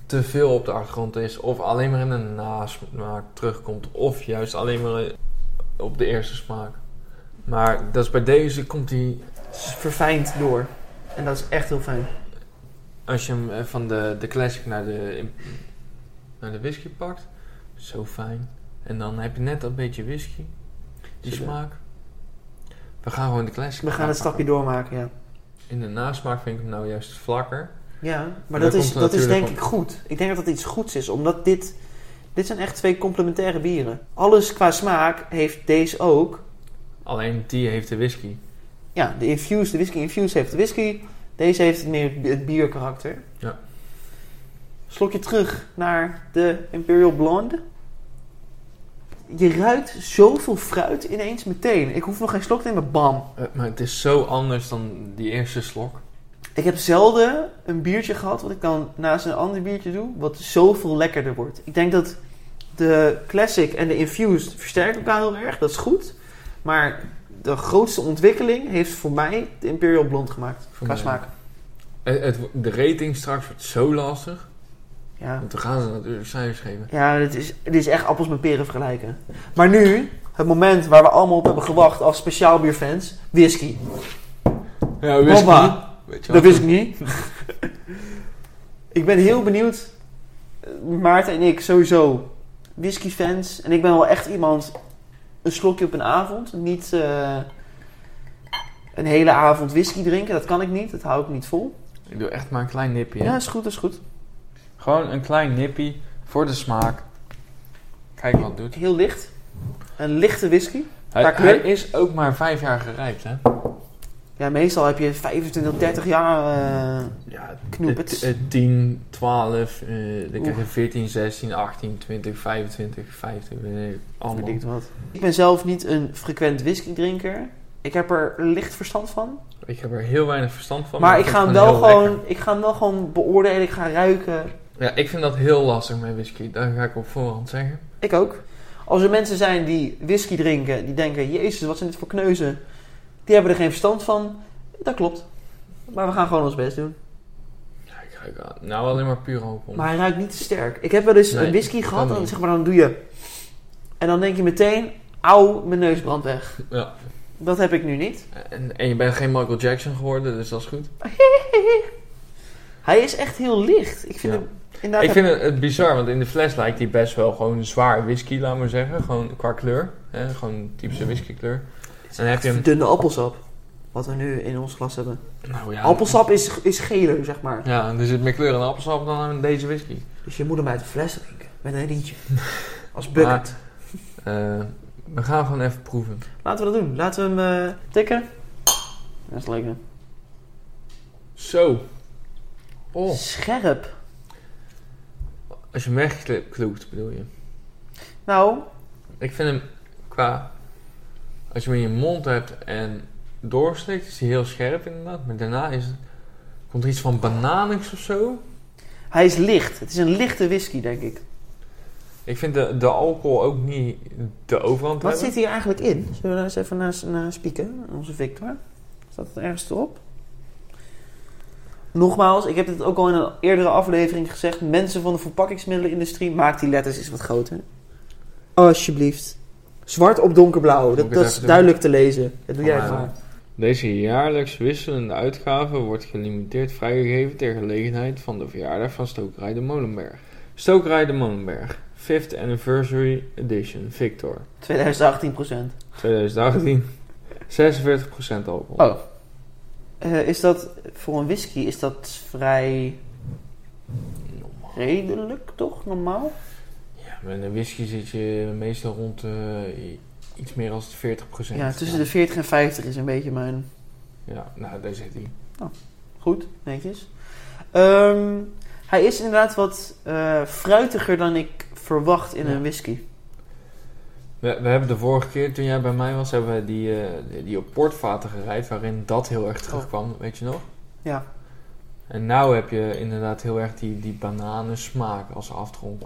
Speaker 1: te veel op de achtergrond is, of alleen maar in een nasmaak terugkomt, of juist alleen maar eh, op de eerste smaak. Maar dat is bij deze komt die,
Speaker 2: Het is verfijnd door. En dat is echt heel fijn.
Speaker 1: als je hem eh, van de, de classic naar de, im- naar de whisky pakt, zo fijn. En dan heb je net dat beetje whisky, die
Speaker 2: Zeker.
Speaker 1: smaak. We gaan gewoon de classic
Speaker 2: Dus We gaan het
Speaker 1: aanpakken.
Speaker 2: stapje doormaken, ja.
Speaker 1: In de nasmaak vind ik hem nou juist vlakker.
Speaker 2: Ja,
Speaker 1: Daar
Speaker 2: maar dat,
Speaker 1: komt
Speaker 2: is,
Speaker 1: het
Speaker 2: dat is
Speaker 1: natuurlijk op.
Speaker 2: denk ik goed. Ik denk dat dat iets goeds is, omdat dit... Dit zijn echt twee complementaire bieren. Alles qua smaak heeft deze ook.
Speaker 1: Alleen die heeft de whisky.
Speaker 2: Ja, de infused, de whisky infused heeft de whisky. Deze heeft meer het bierkarakter.
Speaker 1: Ja.
Speaker 2: Slokje terug naar de Imperial Blonde. Je ruikt zoveel fruit ineens meteen. Ik hoef nog geen slok te nemen, bam.
Speaker 1: Eh, Maar het is zo anders dan die eerste slok.
Speaker 2: Ik heb zelden een biertje gehad wat ik dan naast een ander biertje doe, wat zoveel lekkerder wordt. Ik denk dat de classic en de infused versterken elkaar heel erg, dat is goed. Maar de grootste ontwikkeling heeft voor mij de Imperial Blond gemaakt,
Speaker 1: Voor
Speaker 2: qua
Speaker 1: mij
Speaker 2: smaak.
Speaker 1: Eh, het wo- de rating straks wordt zo lastig.
Speaker 2: Ja,
Speaker 1: Want dan gaan ze natuurlijk cijfers geven.
Speaker 2: ja dit, is, dit is echt appels met peren vergelijken. Maar nu, het moment waar we allemaal op hebben gewacht als speciaalbierfans, whisky.
Speaker 1: Ja,
Speaker 2: wist ik Hoppa.
Speaker 1: Weet je
Speaker 2: Dat wist ik niet. ik ben heel benieuwd. Eh, Maarten en ik sowieso whiskyfans. En ik ben wel echt iemand... Een slokje op een avond. Niet eh, een hele avond whisky drinken. Dat kan ik niet. Dat hou ik niet vol.
Speaker 1: Ik doe echt maar een klein nipje.
Speaker 2: Ja,
Speaker 1: hè.
Speaker 2: is goed, is goed.
Speaker 3: Gewoon een klein nippie voor de smaak. Kijk wat het doet.
Speaker 2: Heel licht. Een lichte whisky.
Speaker 3: Hij,
Speaker 2: Qua kleur?
Speaker 3: hij is ook maar vijf jaar gerijpt, hè?
Speaker 2: Ja, meestal heb je 25, 30 jaar... eh,
Speaker 1: Ja,
Speaker 2: Knoepert.
Speaker 1: eh, eh, 10, 12, eh, dan krijg je
Speaker 2: Oeh.
Speaker 1: 14, 16, 18, 20, 25, 50, weet ik, allemaal.
Speaker 2: verdikt wat. Ik ben zelf niet een frequent whiskydrinker. Ik heb er licht verstand
Speaker 1: Oh,
Speaker 2: van.
Speaker 1: Ik heb er heel weinig verstand van.
Speaker 2: Maar ik
Speaker 1: vind
Speaker 2: ga, hem
Speaker 1: het
Speaker 2: wel
Speaker 1: heel lekker.
Speaker 2: gewoon, ik ga hem wel gewoon beoordelen, ik ga ruiken.
Speaker 1: Ja, ik vind dat heel lastig met whisky. Dat ga ik op voorhand zeggen.
Speaker 2: Ik ook. Als er mensen zijn die whisky drinken, die denken, jezus, wat zijn dit voor kneuzen. Die hebben er geen verstand van. Dat klopt. Maar we gaan gewoon ons best doen.
Speaker 1: Ja, ik ruik aan- nou alleen maar puur alcohol.
Speaker 2: Maar hij ruikt niet te sterk. Ik heb wel eens
Speaker 1: Nee,
Speaker 2: een whisky gehad,
Speaker 1: kan
Speaker 2: dan,
Speaker 1: niet.
Speaker 2: zeg maar, dan doe je... En dan denk je meteen, auw, mijn neus brandt weg.
Speaker 1: Ja.
Speaker 2: Dat heb ik nu niet.
Speaker 1: En, en je bent geen Michael Jackson geworden, dus dat is goed.
Speaker 2: Hij is echt heel licht. Ik vind
Speaker 1: Ja.
Speaker 2: hem inderdaad...
Speaker 1: Ik vind het, het bizar, want in de fles lijkt hij best wel gewoon zwaar whisky, laat maar zeggen. Gewoon qua kleur. Hè? Gewoon typische whiskykleur. En dan heb je hem...
Speaker 2: Dunne appelsap. Wat we nu in ons glas hebben.
Speaker 1: Nou ja,
Speaker 2: Appelsap is, is geler, zeg maar.
Speaker 1: Ja, er zit meer kleur in appelsap dan in deze whisky.
Speaker 2: Dus je moet hem uit de fles drinken. Met een rietje. Als bucket.
Speaker 1: Eh, we gaan gewoon even proeven.
Speaker 2: Laten we dat doen. Laten we hem eh, tikken. Dat is lekker.
Speaker 1: Zo. Oh,
Speaker 2: Scherp.
Speaker 1: als je hem wegkloekt, bedoel je.
Speaker 2: Nou,
Speaker 1: Ik vind hem qua... Als je hem in je mond hebt en doorslikt, is hij heel scherp inderdaad. Maar daarna is het, komt er iets van bananigs of zo.
Speaker 2: hij is licht. Het is een lichte whisky, denk ik.
Speaker 1: Ik vind de, de alcohol ook niet de overhand
Speaker 2: Wat
Speaker 1: hebben.
Speaker 2: zit hier eigenlijk in? Zullen we daar eens even naar, naar spieken, onze Victor? Staat het ergens erop? Nogmaals, ik heb dit ook al in een eerdere aflevering gezegd. Mensen van de verpakkingsmiddelenindustrie, maak die letters eens wat groter. Alsjeblieft. Zwart op donkerblauw,
Speaker 1: Moet ik het
Speaker 2: dat, dat
Speaker 1: even
Speaker 2: is
Speaker 1: doen? Oh,
Speaker 2: duidelijk te lezen. Dat doe jij
Speaker 1: Van mij
Speaker 2: gewoon.
Speaker 3: Deze jaarlijks wisselende uitgave wordt gelimiteerd vrijgegeven ter gelegenheid van de verjaardag van Stokerij de Molenberg. Stokerij de Molenberg, 5th Anniversary Edition, Victor,
Speaker 2: 2018 procent.
Speaker 3: 2018, 46% alcohol.
Speaker 2: Oh. Eh, is dat, voor een whisky is dat vrij Oh. redelijk toch, normaal?
Speaker 1: Ja, met een whisky zit je meestal rond eh, i- iets meer dan 40%.
Speaker 2: Ja, tussen de 40 en 50 is een beetje mijn...
Speaker 1: Ja, nou, daar zit hij.
Speaker 2: Goed, netjes. Ehm, hij is inderdaad wat eh, fruitiger dan ik verwacht in
Speaker 1: Ja.
Speaker 2: een whisky.
Speaker 1: We, we hebben de vorige keer, toen jij bij mij was, hebben we die, eh, die- die op portvaten gereid, waarin dat heel erg terugkwam, weet je nog?
Speaker 2: Oh. Ja.
Speaker 1: En nou heb je inderdaad heel erg die, die bananensmaak als aftronk.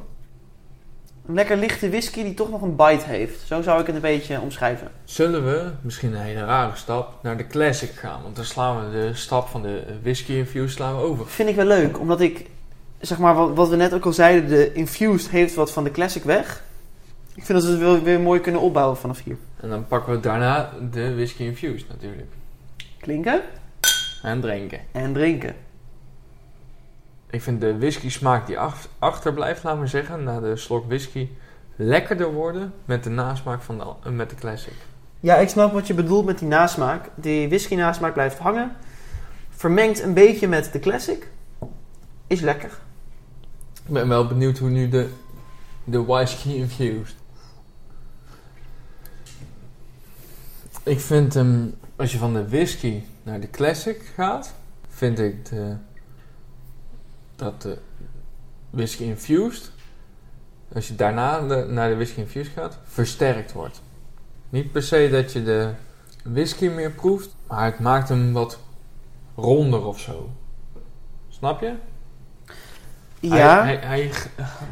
Speaker 2: Een lekker lichte whisky die toch nog een bite heeft. Zo zou ik het een beetje omschrijven.
Speaker 1: Zullen we, misschien een hele rare stap, naar de classic gaan? Want dan slaan we de stap van de whisky infused slaan we over.
Speaker 2: Vind ik wel leuk, omdat ik, zeg maar, wat, wat we net ook al zeiden, de infused heeft wat van de classic weg. Ik vind dat we het wel weer mooi kunnen opbouwen vanaf hier.
Speaker 1: En dan pakken we daarna de whisky infused natuurlijk.
Speaker 2: Klinken
Speaker 1: En drinken.
Speaker 2: en drinken.
Speaker 1: Ik vind de whisky smaak die ach- achterblijft, laat maar zeggen, na de slok whisky, lekkerder worden met de nasmaak van de, al- met de classic.
Speaker 2: Ja, ik snap wat je bedoelt met die nasmaak. Die whisky nasmaak blijft hangen. Vermengt een beetje met de classic. Is lekker.
Speaker 1: Ik ben wel benieuwd hoe nu de, de whisky infused. Ik vind hem, als je van de whisky naar de classic gaat, vind ik de, dat de whisky infused, als je daarna de- naar de whisky infused gaat, versterkt wordt. Niet per se dat je de whisky meer proeft, maar het maakt hem wat ronder of zo. Snap je?
Speaker 2: Ja,
Speaker 1: Hij, hij, hij g-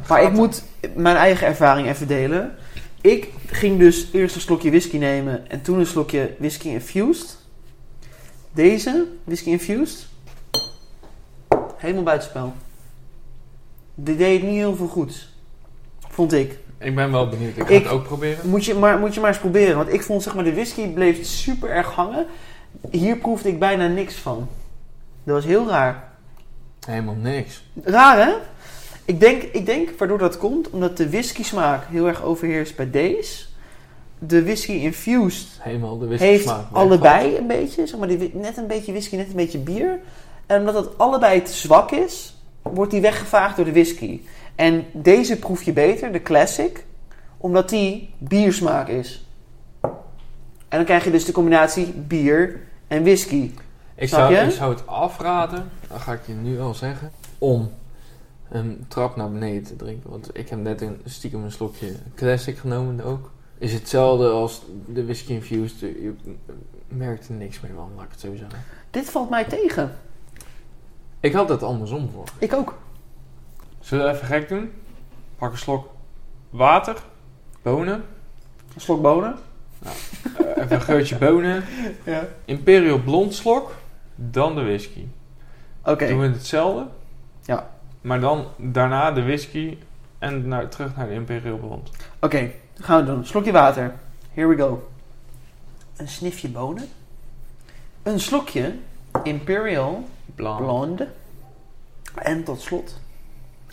Speaker 2: maar ik moet mijn eigen ervaring even delen. Ik ging dus eerst een slokje whisky nemen en toen een slokje whisky infused. Deze, whisky infused, helemaal buitenspel. Dit deed niet heel veel goeds, vond ik.
Speaker 1: Ik ben wel benieuwd. Ik ga
Speaker 2: Ik-
Speaker 1: het ook proberen.
Speaker 2: Moet je, maar, moet je maar eens proberen, want ik vond zeg maar de whisky bleef super erg hangen. Hier proefde ik bijna niks van. Dat was heel raar.
Speaker 1: Helemaal niks.
Speaker 2: Raar hè? Ik denk, ik denk waardoor dat komt, omdat de whisky smaak heel erg overheerst bij deze. De whisky infused
Speaker 1: Helemaal de whisky
Speaker 2: heeft
Speaker 1: smaak.
Speaker 2: allebei een beetje, zeg maar die, wi- net een beetje whisky, net een beetje bier. En omdat dat allebei te zwak is, wordt die weggevaagd door de whisky. En deze proef je beter, de classic, omdat die biersmaak is. En dan krijg je dus de combinatie bier en whisky.
Speaker 1: Ik
Speaker 2: Snap
Speaker 1: zou,
Speaker 2: je?
Speaker 1: ik zou het afraden, dat ga ik je nu al zeggen, om een trap naar beneden te drinken. Want ik heb net een, stiekem een slokje classic genomen ook. Is hetzelfde als de whisky infused. Je merkt er niks meer van, laat ik het zo zeggen.
Speaker 2: Dit valt mij tegen.
Speaker 1: Ik had het andersom voor.
Speaker 2: Ik ook.
Speaker 3: Zullen we even gek doen? Pak een slok water, bonen,
Speaker 2: Een slok bonen.
Speaker 3: eh, even een geurtje bonen,
Speaker 2: Ja.
Speaker 3: imperial blond slok, dan de whisky.
Speaker 2: Oké.
Speaker 3: Doen we hetzelfde?
Speaker 2: Ja.
Speaker 3: Maar dan daarna de whisky en naar, terug naar de imperial blond.
Speaker 2: Oké, dat gaan we doen. Slokje water. Here we go. Een snifje bonen. Een slokje Imperial
Speaker 3: Blond.
Speaker 2: Blonde. En tot slot.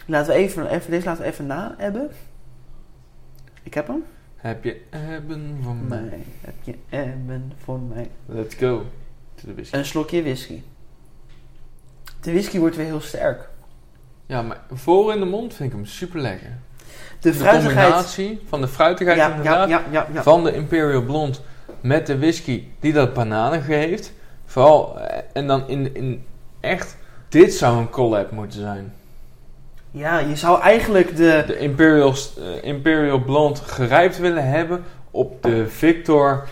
Speaker 2: Laten we even, even deze laten we even na hebben. Ik heb hem.
Speaker 1: Heb je hebben van mij.
Speaker 2: Mij heb je hebben voor mij.
Speaker 3: Let's go. To de whisky.
Speaker 2: Een slokje whisky. De whisky wordt weer heel sterk.
Speaker 1: Ja, maar voor in de mond vind ik hem super lekker.
Speaker 2: De fruitigheid.
Speaker 1: combinatie van de fruitigheid
Speaker 2: ja,
Speaker 1: inderdaad.
Speaker 2: ja, ja, ja, ja.
Speaker 1: van de Imperial Blond met de whisky die dat bananige heeft. Vooral, eh, en dan in, in echt, dit zou een collab moeten zijn.
Speaker 2: ja, je zou eigenlijk de,
Speaker 3: De Imperial, eh, Imperial Blond gerijpt willen hebben op de Victor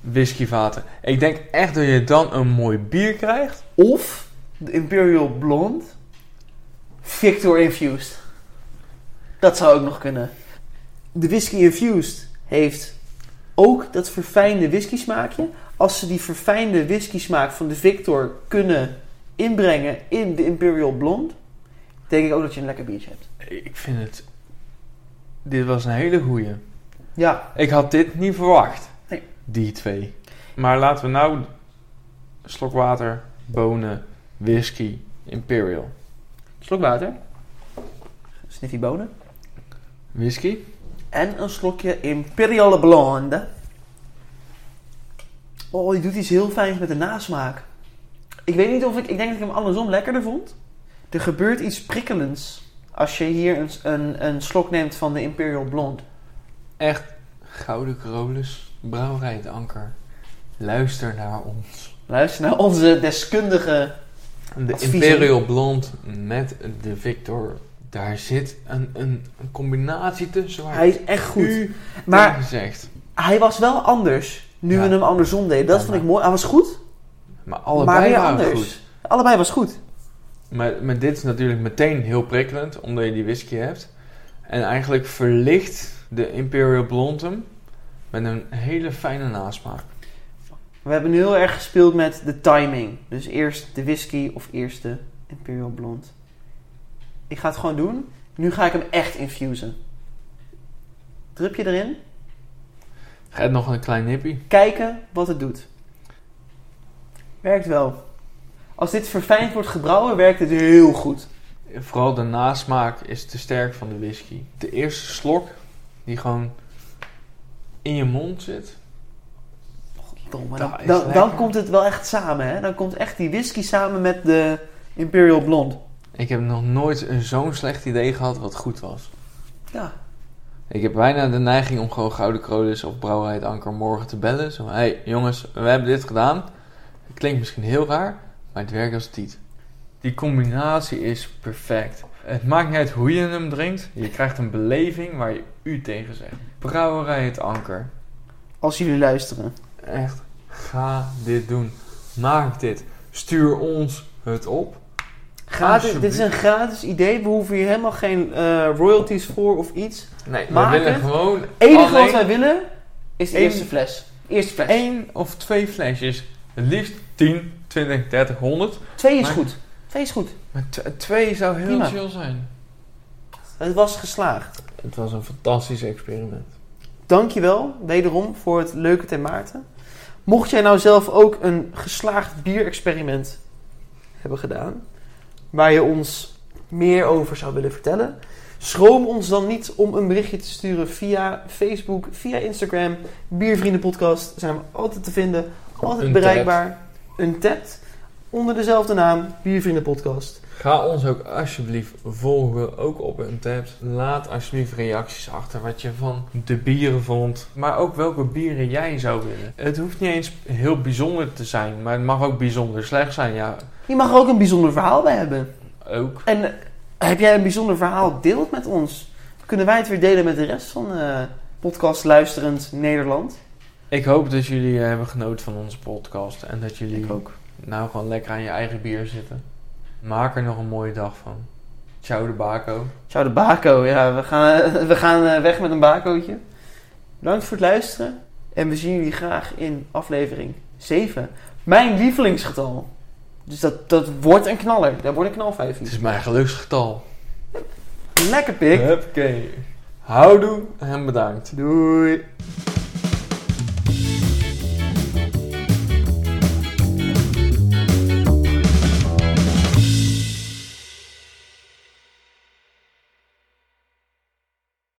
Speaker 3: whiskyvaten. Ik denk echt dat je dan een mooi bier krijgt.
Speaker 2: Of de Imperial Blonde Victor Infused. Dat zou ook nog kunnen. De whisky infused heeft ook dat verfijnde whisky smaakje. Als ze die verfijnde whisky smaak van de Victor kunnen inbrengen in de Imperial Blonde, denk ik ook dat je een lekker biertje hebt.
Speaker 1: Ik vind het... Dit was een hele goeie.
Speaker 2: Ja,
Speaker 1: Ik had dit niet verwacht.
Speaker 2: Nee.
Speaker 1: Die twee. Maar laten we nou... Slok water, bonen, whisky, imperial.
Speaker 2: slok water. Sniffy bonen.
Speaker 1: Whisky?
Speaker 2: En een slokje Imperial Blonde. Oh, die doet iets heel fijns met de nasmaak. Ik weet niet of ik... Ik denk dat ik hem andersom lekkerder vond. Er gebeurt iets prikkelends als je hier een, een, een slok neemt van de Imperial Blonde.
Speaker 1: Echt. Gouden Carolus, Brouwerij het Anker. Luister naar ons.
Speaker 2: Luister naar onze deskundige...
Speaker 1: De
Speaker 2: Adviezen.
Speaker 1: Imperial Blond met de Victor. Daar zit een, een, een combinatie tussen waar
Speaker 2: Hij is echt goed.
Speaker 1: u
Speaker 2: Maar-
Speaker 1: maar, gezegd.
Speaker 2: Hij was wel anders nu
Speaker 1: Ja.
Speaker 2: we hem andersom deden. Dat
Speaker 1: Ja,
Speaker 2: vond
Speaker 1: maar-
Speaker 2: ik mooi. Hij was goed,
Speaker 1: Maar allebei
Speaker 2: maar weer
Speaker 1: waren
Speaker 2: anders.
Speaker 1: goed.
Speaker 2: Allebei was goed.
Speaker 1: Maar, maar dit is natuurlijk meteen heel prikkelend, omdat je die whisky hebt. En eigenlijk verlicht de Imperial Blond hem met een hele fijne nasmaak.
Speaker 2: We hebben nu heel erg gespeeld met de timing. Dus eerst de whisky of eerst de Imperial Blond. Ik ga het gewoon doen. Nu ga ik hem echt infusen. Drupje erin.
Speaker 1: Gaat nog een klein nippie.
Speaker 2: Kijken wat het doet. Werkt wel. Als dit verfijnd wordt gebrouwen, werkt het heel goed.
Speaker 1: Vooral de nasmaak is te sterk van de whisky. De eerste slok die gewoon in je mond zit.
Speaker 2: Domme,
Speaker 1: Dat
Speaker 2: dan,
Speaker 1: is
Speaker 2: dan,
Speaker 1: lekker.
Speaker 2: dan komt het wel echt samen, hè? Dan komt echt die whisky samen met de Imperial Blond.
Speaker 1: Ik heb nog nooit een- zo'n slecht idee gehad wat goed was.
Speaker 2: Ja.
Speaker 1: Ik heb bijna de neiging om gewoon Gouden Krolus of Brouwerij het Anker morgen te bellen. Zo, hey jongens, we hebben dit gedaan. Het klinkt misschien heel raar, maar het werkt als tiet. Die combinatie is perfect. Het maakt niet uit hoe je hem drinkt. Je krijgt een beleving waar je u tegen zegt. Brouwerij het Anker.
Speaker 2: Als jullie luisteren.
Speaker 1: Echt, ga dit doen. Maak dit. Stuur ons het op.
Speaker 2: Gratis, dit is een gratis idee. We hoeven hier helemaal geen eh, royalties voor of iets.
Speaker 1: Nee, we
Speaker 2: Maak
Speaker 1: willen
Speaker 2: het.
Speaker 1: gewoon
Speaker 2: Het enige
Speaker 1: alleen-
Speaker 2: wat wij willen is de
Speaker 1: Eén-
Speaker 2: eerste fles. Eerste fles.
Speaker 1: Eén of twee flesjes. Het liefst 10, 20, 30, 100.
Speaker 2: Twee is
Speaker 1: maar-
Speaker 2: goed. Twee is goed.
Speaker 1: Maar t- twee zou heel
Speaker 2: Prima.
Speaker 1: chill zijn.
Speaker 2: Het was geslaagd.
Speaker 4: Het was een fantastisch experiment.
Speaker 2: Dankjewel, wederom, voor het leuke ten Maarten. Mocht jij nou zelf ook een geslaagd bierexperiment hebben gedaan, waar je ons meer over zou willen vertellen, schroom ons dan niet om een berichtje te sturen via Facebook, via Instagram. Biervriendenpodcast zijn we altijd te vinden, altijd
Speaker 4: Untapped.
Speaker 2: bereikbaar. Een tet onder dezelfde naam, Biervriendenpodcast.
Speaker 4: Ga ons ook alsjeblieft volgen, ook op Untappd. Laat alsjeblieft reacties achter wat je van
Speaker 1: De bieren vond. Maar ook welke bieren jij zou willen. Het hoeft niet eens heel bijzonder te zijn. Maar het mag ook bijzonder slecht zijn. Ja,
Speaker 2: Je mag er ook een bijzonder verhaal bij hebben.
Speaker 1: ook.
Speaker 2: En eh, heb jij een bijzonder verhaal? Deel het met ons. Kunnen wij het weer delen met de rest van eh, podcast Luisterend Nederland?
Speaker 1: Ik hoop dat jullie eh, hebben genoten van onze podcast. En dat jullie
Speaker 2: ook.
Speaker 1: nou gewoon lekker aan je eigen bier zitten. Maak er nog een mooie dag van. Ciao de bako.
Speaker 2: Ciao de bako. Ja, we gaan, eh, we gaan eh, weg met een bakootje. Bedankt voor het luisteren. En we zien jullie graag in aflevering 7. Mijn lievelingsgetal. Dus dat, dat wordt een knaller. Dat wordt een knalvijf.
Speaker 1: Het is mijn geluksgetal.
Speaker 2: Lekker pik.
Speaker 1: Oké. Houdoe en bedankt.
Speaker 2: Doei.